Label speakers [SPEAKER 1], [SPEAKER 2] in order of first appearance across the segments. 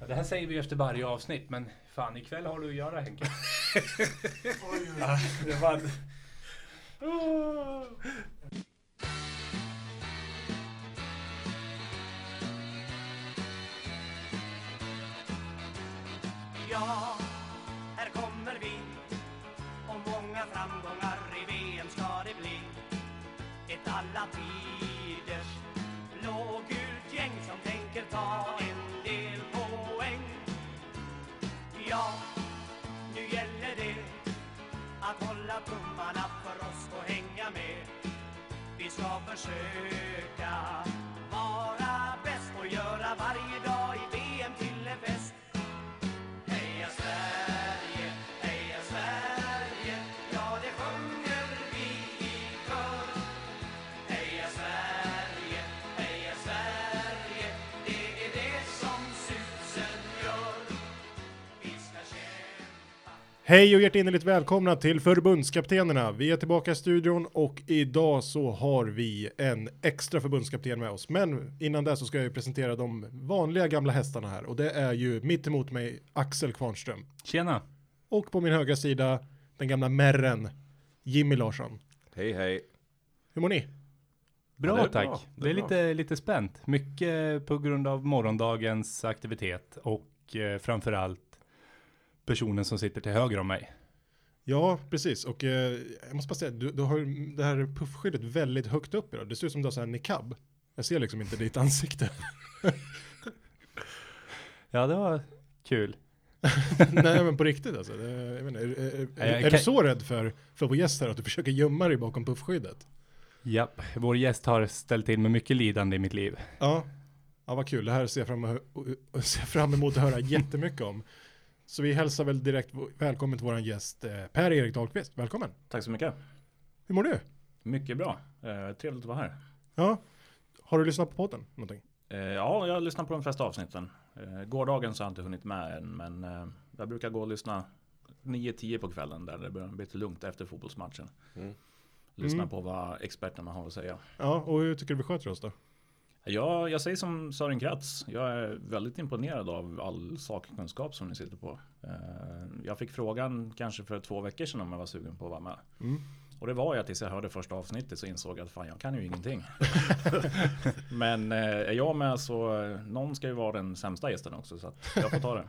[SPEAKER 1] Ja, det här säger vi ju efter varje avsnitt, men fan ikväll har du att göra Henke.
[SPEAKER 2] Oj, oj.
[SPEAKER 1] Ja, det var... Åh.
[SPEAKER 3] Ja, här kommer vi Och många framgångar i VM ska det bli Ett alla tiders blågult gäng som tänker ta en del poäng Ja, nu gäller det att hålla tummarna för oss och hänga med Vi ska försöka vara bäst och göra varje dag i VM till en fest Heja Sverige, heja Sverige, ja det sjunger vi i kör. Heja Sverige, heja Sverige, det är det som susen gör. Vi ska kämpa.
[SPEAKER 4] Hej och hjärtinnerligt välkomna till förbundskaptenerna. Vi är tillbaka i studion och idag så har vi en extra förbundskapten med oss. Men innan det så ska jag ju presentera de vanliga gamla hästarna här och det är ju mitt emot mig Axel Kvarnström
[SPEAKER 1] Tjena!
[SPEAKER 4] och på min högra sida den gamla märren Jimmy Larsson.
[SPEAKER 5] Hej hej.
[SPEAKER 4] Hur mår ni?
[SPEAKER 1] Bra
[SPEAKER 5] Ja, det är
[SPEAKER 1] tack!
[SPEAKER 5] bra.
[SPEAKER 1] Det
[SPEAKER 5] Det
[SPEAKER 1] är
[SPEAKER 5] är bra.
[SPEAKER 1] lite, lite spänt. Mycket på grund av morgondagens aktivitet och eh, framförallt personen som sitter till höger om mig.
[SPEAKER 4] Ja, precis. Och eh, jag måste bara säga, du, du har ju det här puffskyddet väldigt högt upp idag. Det ser ut som du har så här niqab. Jag ser liksom inte ditt ansikte.
[SPEAKER 1] Ja, det var kul.
[SPEAKER 4] Nej men på riktigt alltså. Det, jag vet inte, är, är,
[SPEAKER 1] Nej, jag
[SPEAKER 4] är,
[SPEAKER 1] kan-
[SPEAKER 4] du så rädd för, för vår gäst här att du försöker gömma dig bakom puffskyddet?
[SPEAKER 1] Japp, vår gäst har ställt till med mycket lidande i mitt liv.
[SPEAKER 4] Ja. Ja vad kul, det här ser jag fram, ser jag fram emot att höra jättemycket om. Så vi hälsar väl direkt v- välkommen till våran gäst eh, Per-Erik Dahlqvist. Välkommen!
[SPEAKER 6] Tack så mycket.
[SPEAKER 4] Hur mår du?
[SPEAKER 6] Mycket bra. Eh, trevligt att vara här.
[SPEAKER 4] Ja. Har du lyssnat på podden? Någonting?
[SPEAKER 6] Eh, ja, jag lyssnar på de flesta avsnitten. Eh, gårdagen så har jag inte hunnit med än, men eh, jag brukar gå och lyssna 9-10 på kvällen där det börjar bli lite lugnt efter fotbollsmatchen. Lyssna
[SPEAKER 4] Mm.
[SPEAKER 6] på vad experterna har att säga.
[SPEAKER 4] Ja, och hur tycker du vi sköter oss då?
[SPEAKER 6] Jag, jag säger som Sören Kratz, jag är väldigt imponerad av all sakkunskap som ni sitter på. Eh, jag fick frågan kanske för två veckor sedan om jag var sugen på att vara med.
[SPEAKER 4] Mm.
[SPEAKER 6] Och det var jag tills jag hörde första avsnittet så insåg jag att fan jag kan ju ingenting. Men eh, är jag med så eh, någon ska ju vara den sämsta gästen också så att jag får ta det.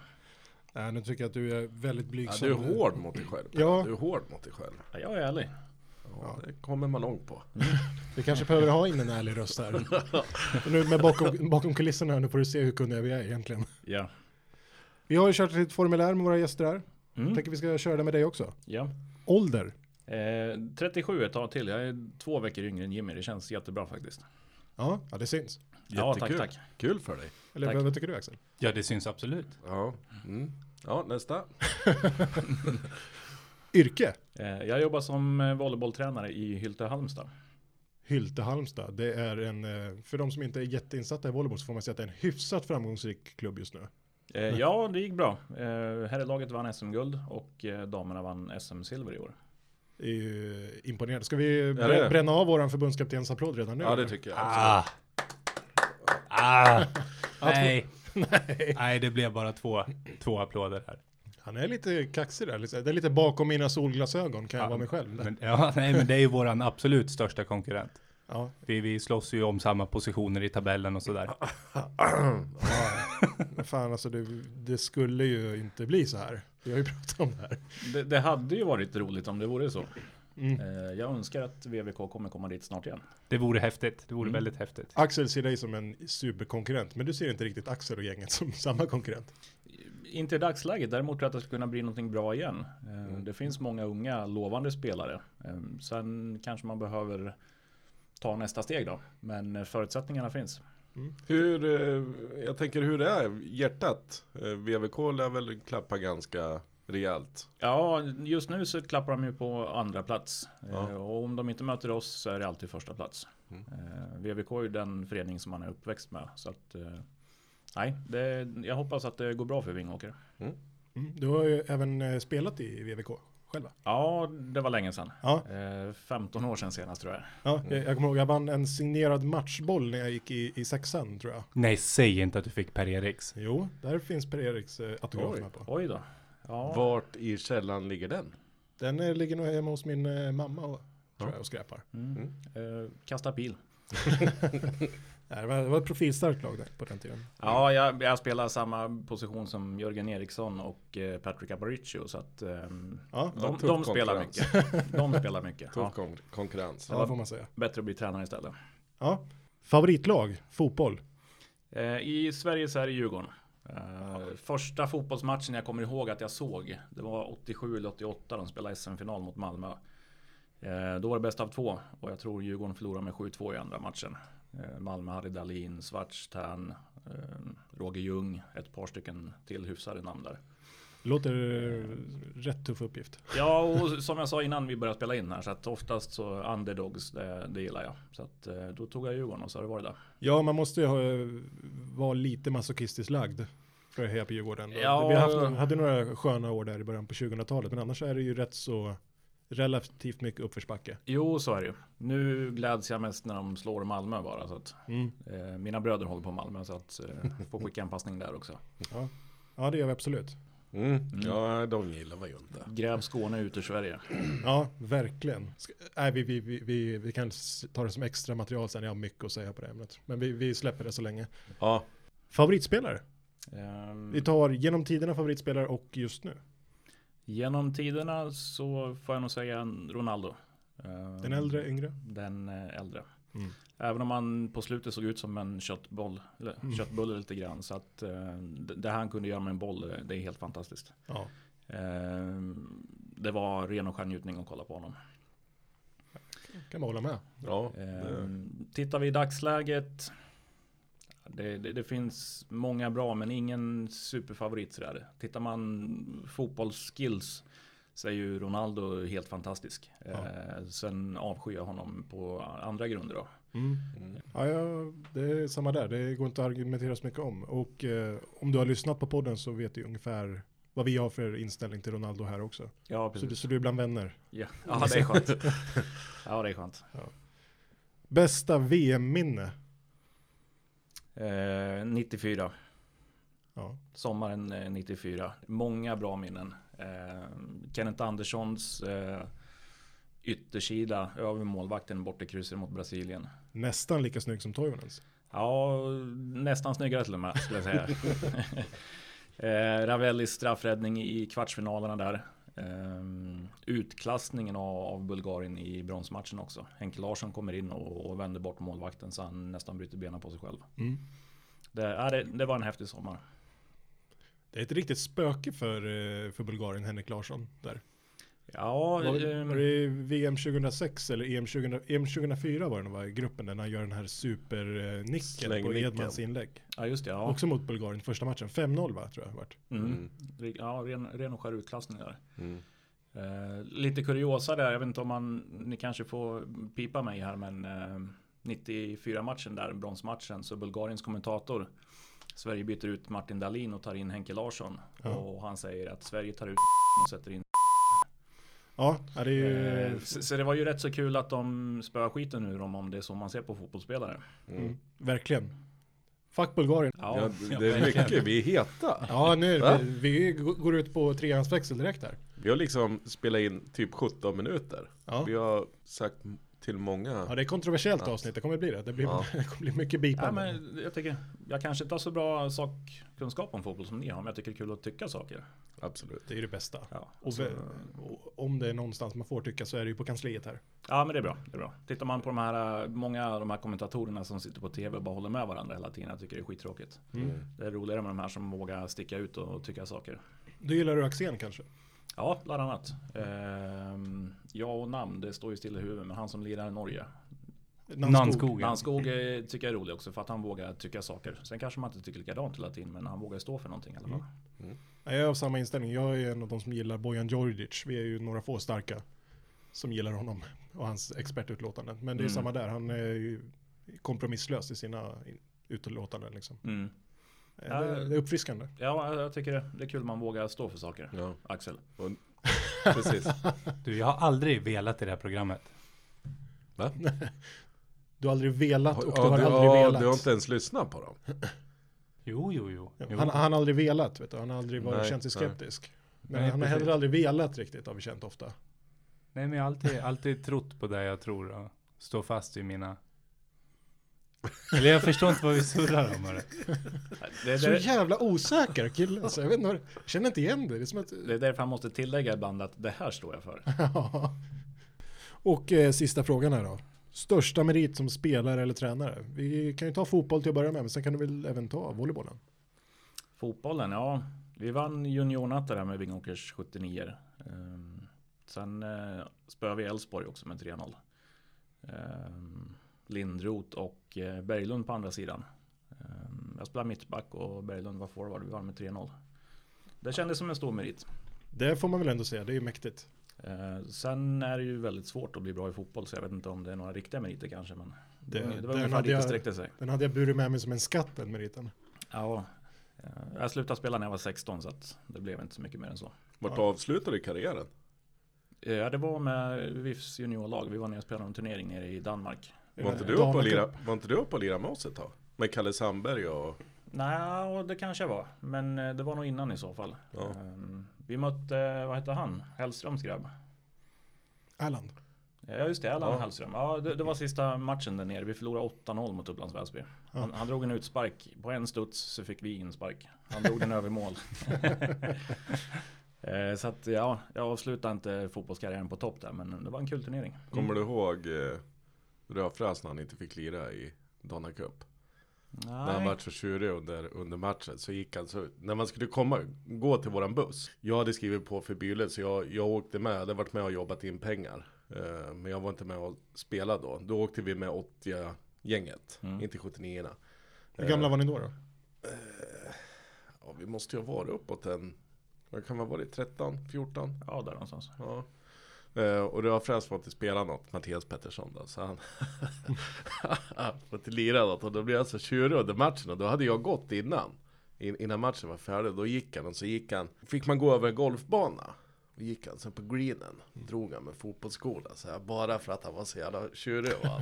[SPEAKER 4] Äh, nu tycker jag att du är väldigt
[SPEAKER 5] Ja,
[SPEAKER 4] blygsam.
[SPEAKER 5] du är hård mot dig själv.
[SPEAKER 4] Ja.
[SPEAKER 5] Du är hård mot dig själv.
[SPEAKER 6] Ja, Jag är ärlig.
[SPEAKER 5] Ja, det kommer man långt på.
[SPEAKER 4] Vi kanske behöver ha in en ärlig röst här. Och nu med bakom, bakom kulisserna här, nu får du se hur kunniga vi är egentligen.
[SPEAKER 6] Ja.
[SPEAKER 4] Vi har ju kört ett formulär med våra gäster här.
[SPEAKER 6] Mm.
[SPEAKER 4] Tänker vi ska köra det med dig också.
[SPEAKER 6] ja.
[SPEAKER 4] Ålder.
[SPEAKER 6] Eh, 37 ett tag till. Jag är två veckor yngre än Jimmy. Det känns jättebra faktiskt.
[SPEAKER 4] Ja, ja det syns.
[SPEAKER 6] Ja, tack,
[SPEAKER 5] Jättekul.
[SPEAKER 6] tack.
[SPEAKER 5] Kul för dig.
[SPEAKER 4] Eller
[SPEAKER 6] Tack.
[SPEAKER 4] vad, vad tycker du Axel?
[SPEAKER 1] Ja, det syns absolut.
[SPEAKER 5] Ja, mm. ja nästa.
[SPEAKER 4] Yrke.
[SPEAKER 6] Eh, jag jobbar som eh, volleybolltränare i Hylte Halmstad.
[SPEAKER 4] Hylte Halmstad. Det är en, eh, för de som inte är jätteinsatta i volleyboll så får man säga att det är en hyfsat framgångsrik klubb just nu.
[SPEAKER 6] Eh, ja, det gick bra. Eh, herrlaget vann SM-guld och eh, damerna vann SM-silver i år.
[SPEAKER 4] Det är ju imponerande. Ska vi
[SPEAKER 5] Ja, det är
[SPEAKER 4] brä-
[SPEAKER 5] det.
[SPEAKER 4] bränna av våran förbundskaptenens applåd redan nu?
[SPEAKER 5] Ja, det
[SPEAKER 4] eller?
[SPEAKER 5] tycker jag. absolut.
[SPEAKER 1] Ah. Ah. Nej. Nej, det blev bara två, två applåder här.
[SPEAKER 4] Han är lite kaxig där. liksom. Det är lite bakom mina solglasögon kan jag
[SPEAKER 1] Ja,
[SPEAKER 4] vara mig själv.
[SPEAKER 1] Men, ja, nej, men det är ju våran absolut största konkurrent.
[SPEAKER 4] Ja,
[SPEAKER 1] Vi, vi slåss ju om samma positioner i tabellen och sådär.
[SPEAKER 4] men fan alltså det, det skulle ju inte bli så här. Vi har ju pratat om det här.
[SPEAKER 6] Det, det hade ju varit roligt om det vore så.
[SPEAKER 4] Mm.
[SPEAKER 6] Eh, Jag önskar att VVK kommer komma dit snart igen.
[SPEAKER 1] Det vore häftigt. Det
[SPEAKER 4] Mm.
[SPEAKER 1] vore väldigt häftigt.
[SPEAKER 4] Axel ser dig som en superkonkurrent, men du ser inte riktigt Axel och gänget som samma konkurrent.
[SPEAKER 6] Inte i dagsläget, däremot tror jag att det skulle kunna bli någonting bra igen. Eh, Det finns många unga lovande spelare. Eh, Sen kanske man behöver ta nästa steg då. Men eh, förutsättningarna finns.
[SPEAKER 5] Hur, eh, jag tänker hur det är hjärtat. Eh, VVK lär väl klappa ganska rejält.
[SPEAKER 6] Ja, just nu så klappar de ju på andra plats. Eh,
[SPEAKER 5] Ja.
[SPEAKER 6] Och om de inte möter oss så är det alltid första plats. Eh, VVK är ju den förening som man är uppväxt med. Så att, eh, nej, det, jag hoppas att det går bra för Vingåker.
[SPEAKER 4] Mm. Du har ju även eh, spelat i VVK själv. själva?
[SPEAKER 6] Ja, det var länge sedan.
[SPEAKER 4] Ja.
[SPEAKER 6] Eh, 15 år sedan senast tror jag.
[SPEAKER 4] Ja, jag, jag kommer ihåg, jag vann en signerad matchboll när jag gick i, i sexan tror jag.
[SPEAKER 1] Nej, säg inte att du fick Per-Eriks.
[SPEAKER 4] Jo, där finns Per-Eriks eh, autograf med på.
[SPEAKER 6] Oj då. Ja,
[SPEAKER 5] Vart i källan ligger den?
[SPEAKER 4] Den eh, ligger nog hemma hos min eh, mamma och, tror jag, och skräpar.
[SPEAKER 6] eh, kasta pil.
[SPEAKER 4] Nej, det, var, det var ett profilstarkt lag där på den tiden.
[SPEAKER 6] Ja, jag, jag spelar samma position som Jörgen Eriksson och eh, Patrick Aparicio. Så att ehm,
[SPEAKER 4] Ja,
[SPEAKER 5] Ja,
[SPEAKER 6] de,
[SPEAKER 5] tuff
[SPEAKER 6] de spelar
[SPEAKER 5] konkurrens.
[SPEAKER 6] mycket. De spelar mycket.
[SPEAKER 5] Tuff
[SPEAKER 6] Ja,
[SPEAKER 5] kon- konkurrens.
[SPEAKER 4] ja, det får man säga.
[SPEAKER 6] bättre att bli tränare istället.
[SPEAKER 4] Ja. Favoritlag, fotboll.
[SPEAKER 6] Eh, I Sverige så är det Djurgården. Eh, första fotbollsmatchen jag kommer ihåg att jag såg, det var 87 eller 88, de spelade SM-final mot Malmö. Eh, då var det bäst av två och jag tror Djurgården förlorade med 7-2 i andra matchen. Eh, Malmö hade Dahlin, Svarts, Tern, eh, Roger Ljung, ett par stycken till hyfsade namn där.
[SPEAKER 4] Låter eh, rätt tuff uppgift.
[SPEAKER 6] Ja, och som jag sa innan vi började spela in här, så att oftast så underdogs, det, det gillar jag. Så att, eh, då tog jag Djurgården och så har det varit där.
[SPEAKER 4] Ja, man måste ju ha, eh, vara lite masochistiskt lagd för att heja på Djurgården.
[SPEAKER 6] Ja.
[SPEAKER 4] Vi har haft, hade några sköna år där i början på 2000-talet, men annars är det ju rätt så relativt mycket uppförsbacke.
[SPEAKER 6] Jo, så är det ju. Nu gläds jag mest när de slår Malmö bara. Så att,
[SPEAKER 4] Mm.
[SPEAKER 6] eh, mina bröder håller på Malmö så att eh, får skicka en passning där också.
[SPEAKER 4] Ja, det gör vi absolut.
[SPEAKER 5] Mm. Ja, de gillar man ju inte.
[SPEAKER 6] Gräv Skåne ut ur Sverige.
[SPEAKER 4] Ja, verkligen. Ska, nej, vi, vi, vi, vi, vi kan s- ta det som extra material sen. Jag har mycket att säga på det ämnet. Men vi, vi släpper det så länge.
[SPEAKER 5] Ja,
[SPEAKER 4] Favoritspelare?
[SPEAKER 6] Ehm,
[SPEAKER 4] Vi tar genom tiderna favoritspelare och just nu.
[SPEAKER 6] genom tiderna så får jag nog säga en Ronaldo. Ehm,
[SPEAKER 4] Den äldre, yngre?
[SPEAKER 6] Den eh, äldre.
[SPEAKER 4] Mm.
[SPEAKER 6] Även om han på slutet såg ut som en köttboll, eller,
[SPEAKER 4] Mm.
[SPEAKER 6] köttbulle lite grann. Så att eh, det, det han kunde göra med en boll, det, det är helt fantastiskt.
[SPEAKER 4] Ja.
[SPEAKER 6] Ehm, det var ren och skär njutning att kolla på honom.
[SPEAKER 4] Kan man hålla med.
[SPEAKER 6] Eh,
[SPEAKER 5] ja. det-
[SPEAKER 6] Ehm, tittar vi i dagsläget. Det, det, det finns många bra men ingen superfavorit sådär. Tittar man fotbollsskills så är ju Ronaldo helt fantastisk. Ehm, sen avskyr jag honom på andra grunder då. Mm.
[SPEAKER 4] Ja, ja, det är samma där. Det går inte att argumentera så mycket om. Och eh, om du har lyssnat på podden så vet du ungefär vad vi har för inställning till Ronaldo här också.
[SPEAKER 6] Ja,
[SPEAKER 4] Så, du- så du är bland vänner.
[SPEAKER 6] Ja, ja det är skönt. Ja, det är skönt.
[SPEAKER 4] Bästa VM-minne?
[SPEAKER 6] Eh, 94.
[SPEAKER 4] Ja.
[SPEAKER 6] Sommaren eh, 94. Många bra minnen. Eh, Kenneth Anderssons eh, yttersida över målvakten bort i krysset mot Brasilien.
[SPEAKER 4] Nästan lika snygg som Toivonens.
[SPEAKER 6] Ja, nästan snyggare till och med skulle jag säga. eh, Ravellis straffräddning i kvartsfinalerna där. Eh, utklassningen av, av Bulgarien i bronsmatchen också. Henke Larsson kommer in och, och vänder bort målvakten så han nästan bryter benen på sig själv.
[SPEAKER 4] Mm.
[SPEAKER 6] Det, ja, det, det var en häftig sommar.
[SPEAKER 4] Det är ett riktigt spöke för, eh, för Bulgarien, Henrik Larsson. Där.
[SPEAKER 6] Ja,
[SPEAKER 4] Var,
[SPEAKER 6] ehm,
[SPEAKER 4] var det VM 2006 eller E EM, 2000, EM 2004 var det nog va, i gruppen där när han gör den här supernicken på
[SPEAKER 5] Slängnicken.
[SPEAKER 4] Edmans inlägg.
[SPEAKER 6] ja just det. Ja.
[SPEAKER 4] Också mot Bulgarien, första matchen. 5-0 va, tror jag det vart.
[SPEAKER 6] Mm. Ja, ren, ren och skär utklassning där.
[SPEAKER 5] Mm.
[SPEAKER 6] Eh, lite kuriosa där, jag vet inte om man, ni kanske får pipa mig här men eh, 94-matchen där, bronsmatchen, så Bulgariens kommentator Sverige byter ut Martin Dahlin och tar in Henke Larsson.
[SPEAKER 4] Ja.
[SPEAKER 6] Och han säger att Sverige tar ut och sätter in
[SPEAKER 4] Ja, ja, det är ju...
[SPEAKER 6] eh, så, så det var ju rätt så kul att de spöar skiten nu om, om det är så man ser på fotbollsspelare.
[SPEAKER 4] mm, verkligen. Fuck Bulgarien.
[SPEAKER 5] Ja,
[SPEAKER 6] Ja,
[SPEAKER 5] det är
[SPEAKER 6] verkligen.
[SPEAKER 5] mycket, vi är heta.
[SPEAKER 4] Ja, nu
[SPEAKER 5] Va?
[SPEAKER 4] vi, vi går ut på treans växel direkt här.
[SPEAKER 5] Vi har liksom spelat in typ 17 minuter.
[SPEAKER 4] Ja.
[SPEAKER 5] Vi har sagt till
[SPEAKER 4] Ja,
[SPEAKER 5] många.
[SPEAKER 4] det är ett kontroversiellt avsnitt, det kommer bli det. Det, blir,
[SPEAKER 5] Ja.
[SPEAKER 4] det kommer bli mycket
[SPEAKER 6] Ja,
[SPEAKER 4] bipande.
[SPEAKER 6] men jag, tycker, jag kanske inte har så bra sakkunskap om fotboll som ni har, men jag tycker det är kul att tycka saker.
[SPEAKER 5] Absolut.
[SPEAKER 4] Det är ju det bästa.
[SPEAKER 6] Ja,
[SPEAKER 4] Och, vä- och om det är någonstans man får tycka så är det ju på kansliet här.
[SPEAKER 6] ja men det är, bra, det är bra. Tittar man på de här, eh, många av de här kommentatorerna som sitter på tv och bara håller med varandra hela tiden, jag tycker det är skittråkigt. Det är roligare med de här som vågar sticka ut och tycka saker.
[SPEAKER 4] Du gillar du Axén kanske?
[SPEAKER 6] Ja, bland annat. Ehm, ja och namn, det står ju still i huvudet, men han som lirar i Norge.
[SPEAKER 1] Nannskogen.
[SPEAKER 6] Landskog eh, tycker jag är rolig också för att han vågar tycka saker. Sen kanske man inte tycker likadant hela tiden, men han vågar stå för någonting i alla fall.
[SPEAKER 4] Nej, Jag är av samma inställning. Jag är en av de som gillar Bojan Djordjic. Vi är ju några få starka som gillar honom och hans expertutlåtanden. Men det är
[SPEAKER 6] Mm.
[SPEAKER 4] samma där. Han är ju kompromisslös i sina in- utlåtanden. Liksom.
[SPEAKER 6] Mm.
[SPEAKER 4] Det, det är uppfriskande.
[SPEAKER 6] Ja, jag tycker det. Det är kul man vågar stå för saker.
[SPEAKER 5] Ja.
[SPEAKER 6] Axel.
[SPEAKER 5] precis.
[SPEAKER 1] Du, jag har aldrig velat i det här programmet.
[SPEAKER 5] Va?
[SPEAKER 4] Du har aldrig velat och du har
[SPEAKER 5] du,
[SPEAKER 4] aldrig
[SPEAKER 5] ja,
[SPEAKER 4] velat.
[SPEAKER 5] du har inte ens lyssnat på dem.
[SPEAKER 1] Jo, jo, jo. jo.
[SPEAKER 4] Han, han har aldrig velat, vet du. Han har aldrig varit,
[SPEAKER 5] Nej,
[SPEAKER 4] känt sig
[SPEAKER 5] nej.
[SPEAKER 4] skeptisk. Men
[SPEAKER 1] Nej,
[SPEAKER 4] han har heller
[SPEAKER 1] precis.
[SPEAKER 4] aldrig velat riktigt, har vi känt ofta.
[SPEAKER 1] Nej, men jag har alltid, alltid trott på det jag tror och står fast i mina... Eller jag förstår inte vad vi surrar om. hörru.
[SPEAKER 6] Det,
[SPEAKER 4] Så
[SPEAKER 6] det,
[SPEAKER 4] jävla osäker kille, alltså. Jag vet inte, vad- jag känner inte igen det. Det är som att...
[SPEAKER 6] det är därför han måste tillägga ibland att det här står jag för.
[SPEAKER 4] Ja. Och eh, sista frågan här då. Största merit som spelare eller tränare? Vi kan ju ta fotboll till att börja med, men sen kan du väl även ta volleybollen?
[SPEAKER 6] Fotbollen, ja. Vi vann juniornatta där med Vingåkers 79. Ehm, sen eh, spöade vi Elfsborg också med 3-0. Ehm, Lindroth och eh, Berglund på andra sidan. Ehm, jag spelade mittback och Berglund var forward. Vi vann med 3-0. Det kändes som en stor merit.
[SPEAKER 4] Det får man väl ändå säga, det är ju mäktigt.
[SPEAKER 6] Eh, sen är det ju väldigt svårt att bli bra i fotboll så jag vet inte om det är några riktiga meriter kanske. Men
[SPEAKER 4] Det-
[SPEAKER 6] det, det var
[SPEAKER 4] den
[SPEAKER 6] ungefär
[SPEAKER 4] hade
[SPEAKER 6] dit det
[SPEAKER 4] jag-
[SPEAKER 6] sträckte sig.
[SPEAKER 4] Den hade jag burit med mig som en skatt, den meriten.
[SPEAKER 6] Ja, eh, jag slutade spela när jag var 16 så att det blev inte så mycket mer än så.
[SPEAKER 5] Vart
[SPEAKER 4] Ja.
[SPEAKER 5] avslutade karriären?
[SPEAKER 6] Eh, Ja, det var med VIFs juniorlag. Vi var nere och spelade en turnering nere i Danmark.
[SPEAKER 5] Var inte,
[SPEAKER 4] Eh,
[SPEAKER 5] du uppe och
[SPEAKER 4] damerna-
[SPEAKER 5] lira, var inte du uppe och lira med oss ett tag? Med Kalle Sandberg och...
[SPEAKER 4] Mm.
[SPEAKER 6] Nej, och det kanske jag var. Men eh, det var nog innan i så fall.
[SPEAKER 5] Ja.
[SPEAKER 6] Ehm, Vi mötte, vad hette han? Hellströms grabb.
[SPEAKER 4] Erland.
[SPEAKER 6] Ja just det, Allan
[SPEAKER 5] Ja.
[SPEAKER 6] Hellström. Ja, det, det var sista matchen där nere. Vi förlorade 8-0 mot Upplands Väsby. Han, han drog en utspark. På en studs så fick vi inspark. Han drog den över mål. Eh, så att ja, jag avslutade inte fotbollskarriären på topp där. Men det var en kul turnering.
[SPEAKER 5] Kommer du ihåg eh, Rödfräs när han inte fick lira i Donna Cup? När han vart så tjurig under, under matchen så gick han så När man skulle komma, gå till våran buss Jag hade skrivit på för Byle så jag, jag åkte med, jag hade varit med och jobbat in pengar Eh, Men jag var inte med och spelade då Då åkte vi med 80-gänget,
[SPEAKER 4] Mm.
[SPEAKER 5] inte 79 Eh.
[SPEAKER 4] Hur gamla var ni då? då?
[SPEAKER 5] ja, Vi måste ju ha varit uppåt en Vad kan man ha varit, 13, 14?
[SPEAKER 6] Ja, där någonstans.
[SPEAKER 5] Ja. Eh, och det har främst fått spela något, Mattias Pettersson då, så han fått lira något och då blev han så tjurig under matchen och då hade jag gått innan. In, innan matchen var färdig, då gick han och så gick han, fick man gå över en golfbana. Och gick han sen på greenen, drog han med fotbollsskorna så här, bara för att han var så jävla tjurig. Och han,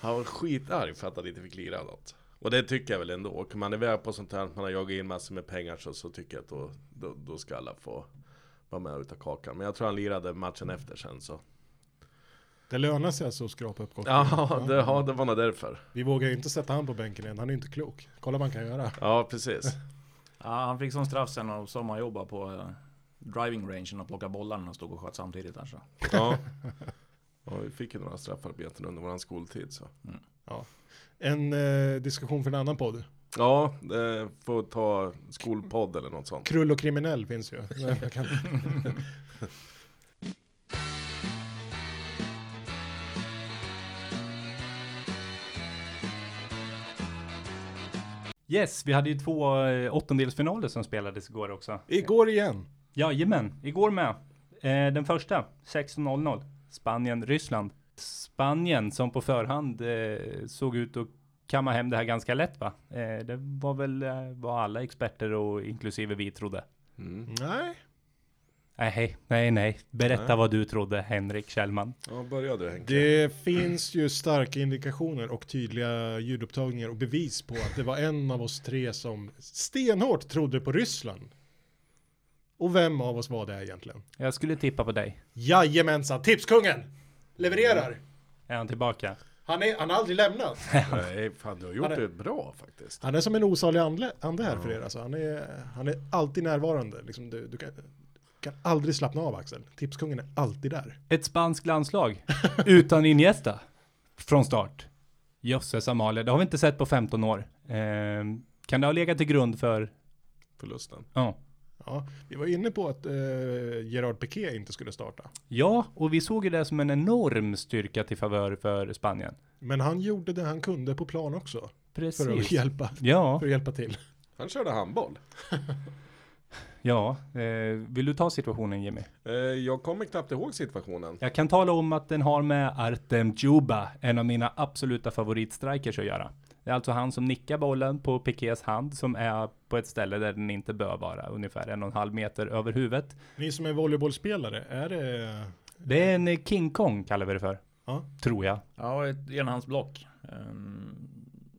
[SPEAKER 5] han var skitarg för att han inte fick lira något. Och det tycker jag väl ändå, åker man iväg på sånt här, man har jagat in massor med pengar så, så tycker jag att då, då, då ska alla få var med utav kakan. Men jag tror han lirade matchen efter sen så.
[SPEAKER 4] Det lönar sig alltså att skrapa upp gott.
[SPEAKER 5] Ja, det, ja, det var nog därför.
[SPEAKER 4] Vi vågar ju inte sätta han på bänken än, han är ju inte klok. Kolla vad han kan göra.
[SPEAKER 5] Ja, precis.
[SPEAKER 6] Ja, han fick som straff sen och sommarjobba på eh, driving rangen och plocka bollar när han stod och sköt samtidigt. Där, så.
[SPEAKER 5] Ja. ja vi fick ju några straffarbeten under våran skoltid så.
[SPEAKER 4] En eh, diskussion för en annan podd.
[SPEAKER 5] Ja, eh, får ta skolpodd eller något sånt.
[SPEAKER 4] Krull och kriminell finns ju. Nej, jag kan-
[SPEAKER 1] Yes, vi hade ju två eh, åttondelsfinaler som spelades igår också.
[SPEAKER 4] Igår igen.
[SPEAKER 1] Jajamän, igår med. Eh, den första, 16.00, Spanien-Ryssland. Spanien som på förhand eh, såg ut att kamma hem det här ganska lätt va? Eh, det var väl eh, vad alla experter och inklusive vi trodde.
[SPEAKER 5] Mm.
[SPEAKER 4] Nej.
[SPEAKER 1] Nej, hej. nej, nej. Berätta
[SPEAKER 5] Nej.
[SPEAKER 1] vad du trodde, Henrik Kjellman.
[SPEAKER 5] Ja, börja du Henke.
[SPEAKER 4] Det finns ju starka indikationer och tydliga ljudupptagningar och bevis på att det var en av oss tre som stenhårt trodde på Ryssland. Och vem av oss var det egentligen?
[SPEAKER 1] Jag skulle tippa på dig.
[SPEAKER 4] Jajamensan, tipskungen! Levererar!
[SPEAKER 1] Är han tillbaka?
[SPEAKER 4] Han, är, han har aldrig lämnat.
[SPEAKER 5] Nej, fan du har gjort
[SPEAKER 4] Hade-
[SPEAKER 5] det bra faktiskt.
[SPEAKER 4] Han är som en osalig ande, ande här för er. Alltså. Han, är, han är alltid närvarande. Liksom, du, du kan, kan aldrig slappna av Axel. Tipskungen är alltid där.
[SPEAKER 1] Ett spanskt landslag utan Iniesta från start. Jösses Amalia, det har vi inte sett på 15 år. Eh, kan det ha legat till grund för...
[SPEAKER 5] Förlusten.
[SPEAKER 1] Ja.
[SPEAKER 4] Ja, vi var inne på att eh, Gerard Piqué inte skulle starta.
[SPEAKER 1] Ja, och vi såg ju det som en enorm styrka till favör för Spanien.
[SPEAKER 4] Men han gjorde det han kunde på plan också. För att
[SPEAKER 1] Precis.
[SPEAKER 4] hjälpa,
[SPEAKER 1] Ja,
[SPEAKER 4] för att hjälpa till.
[SPEAKER 5] Han körde handboll.
[SPEAKER 1] ja. Eh, vill du ta situationen Jimmy?
[SPEAKER 5] Eh, jag kommer knappt ihåg situationen.
[SPEAKER 1] Jag kan tala om att den har med Artem Djuba, en av mina absoluta favoritstrikers att göra. Det är alltså han som nickar bollen på Pikés hand som är på ett ställe där den inte bör vara, ungefär en och en halv meter över huvudet.
[SPEAKER 4] Ni som är volleybollspelare, är det...
[SPEAKER 1] Det är en eh, King Kong kallar vi det för.
[SPEAKER 4] Ja.
[SPEAKER 1] Tror jag.
[SPEAKER 6] Ja, ett enhandsblock. Ehm,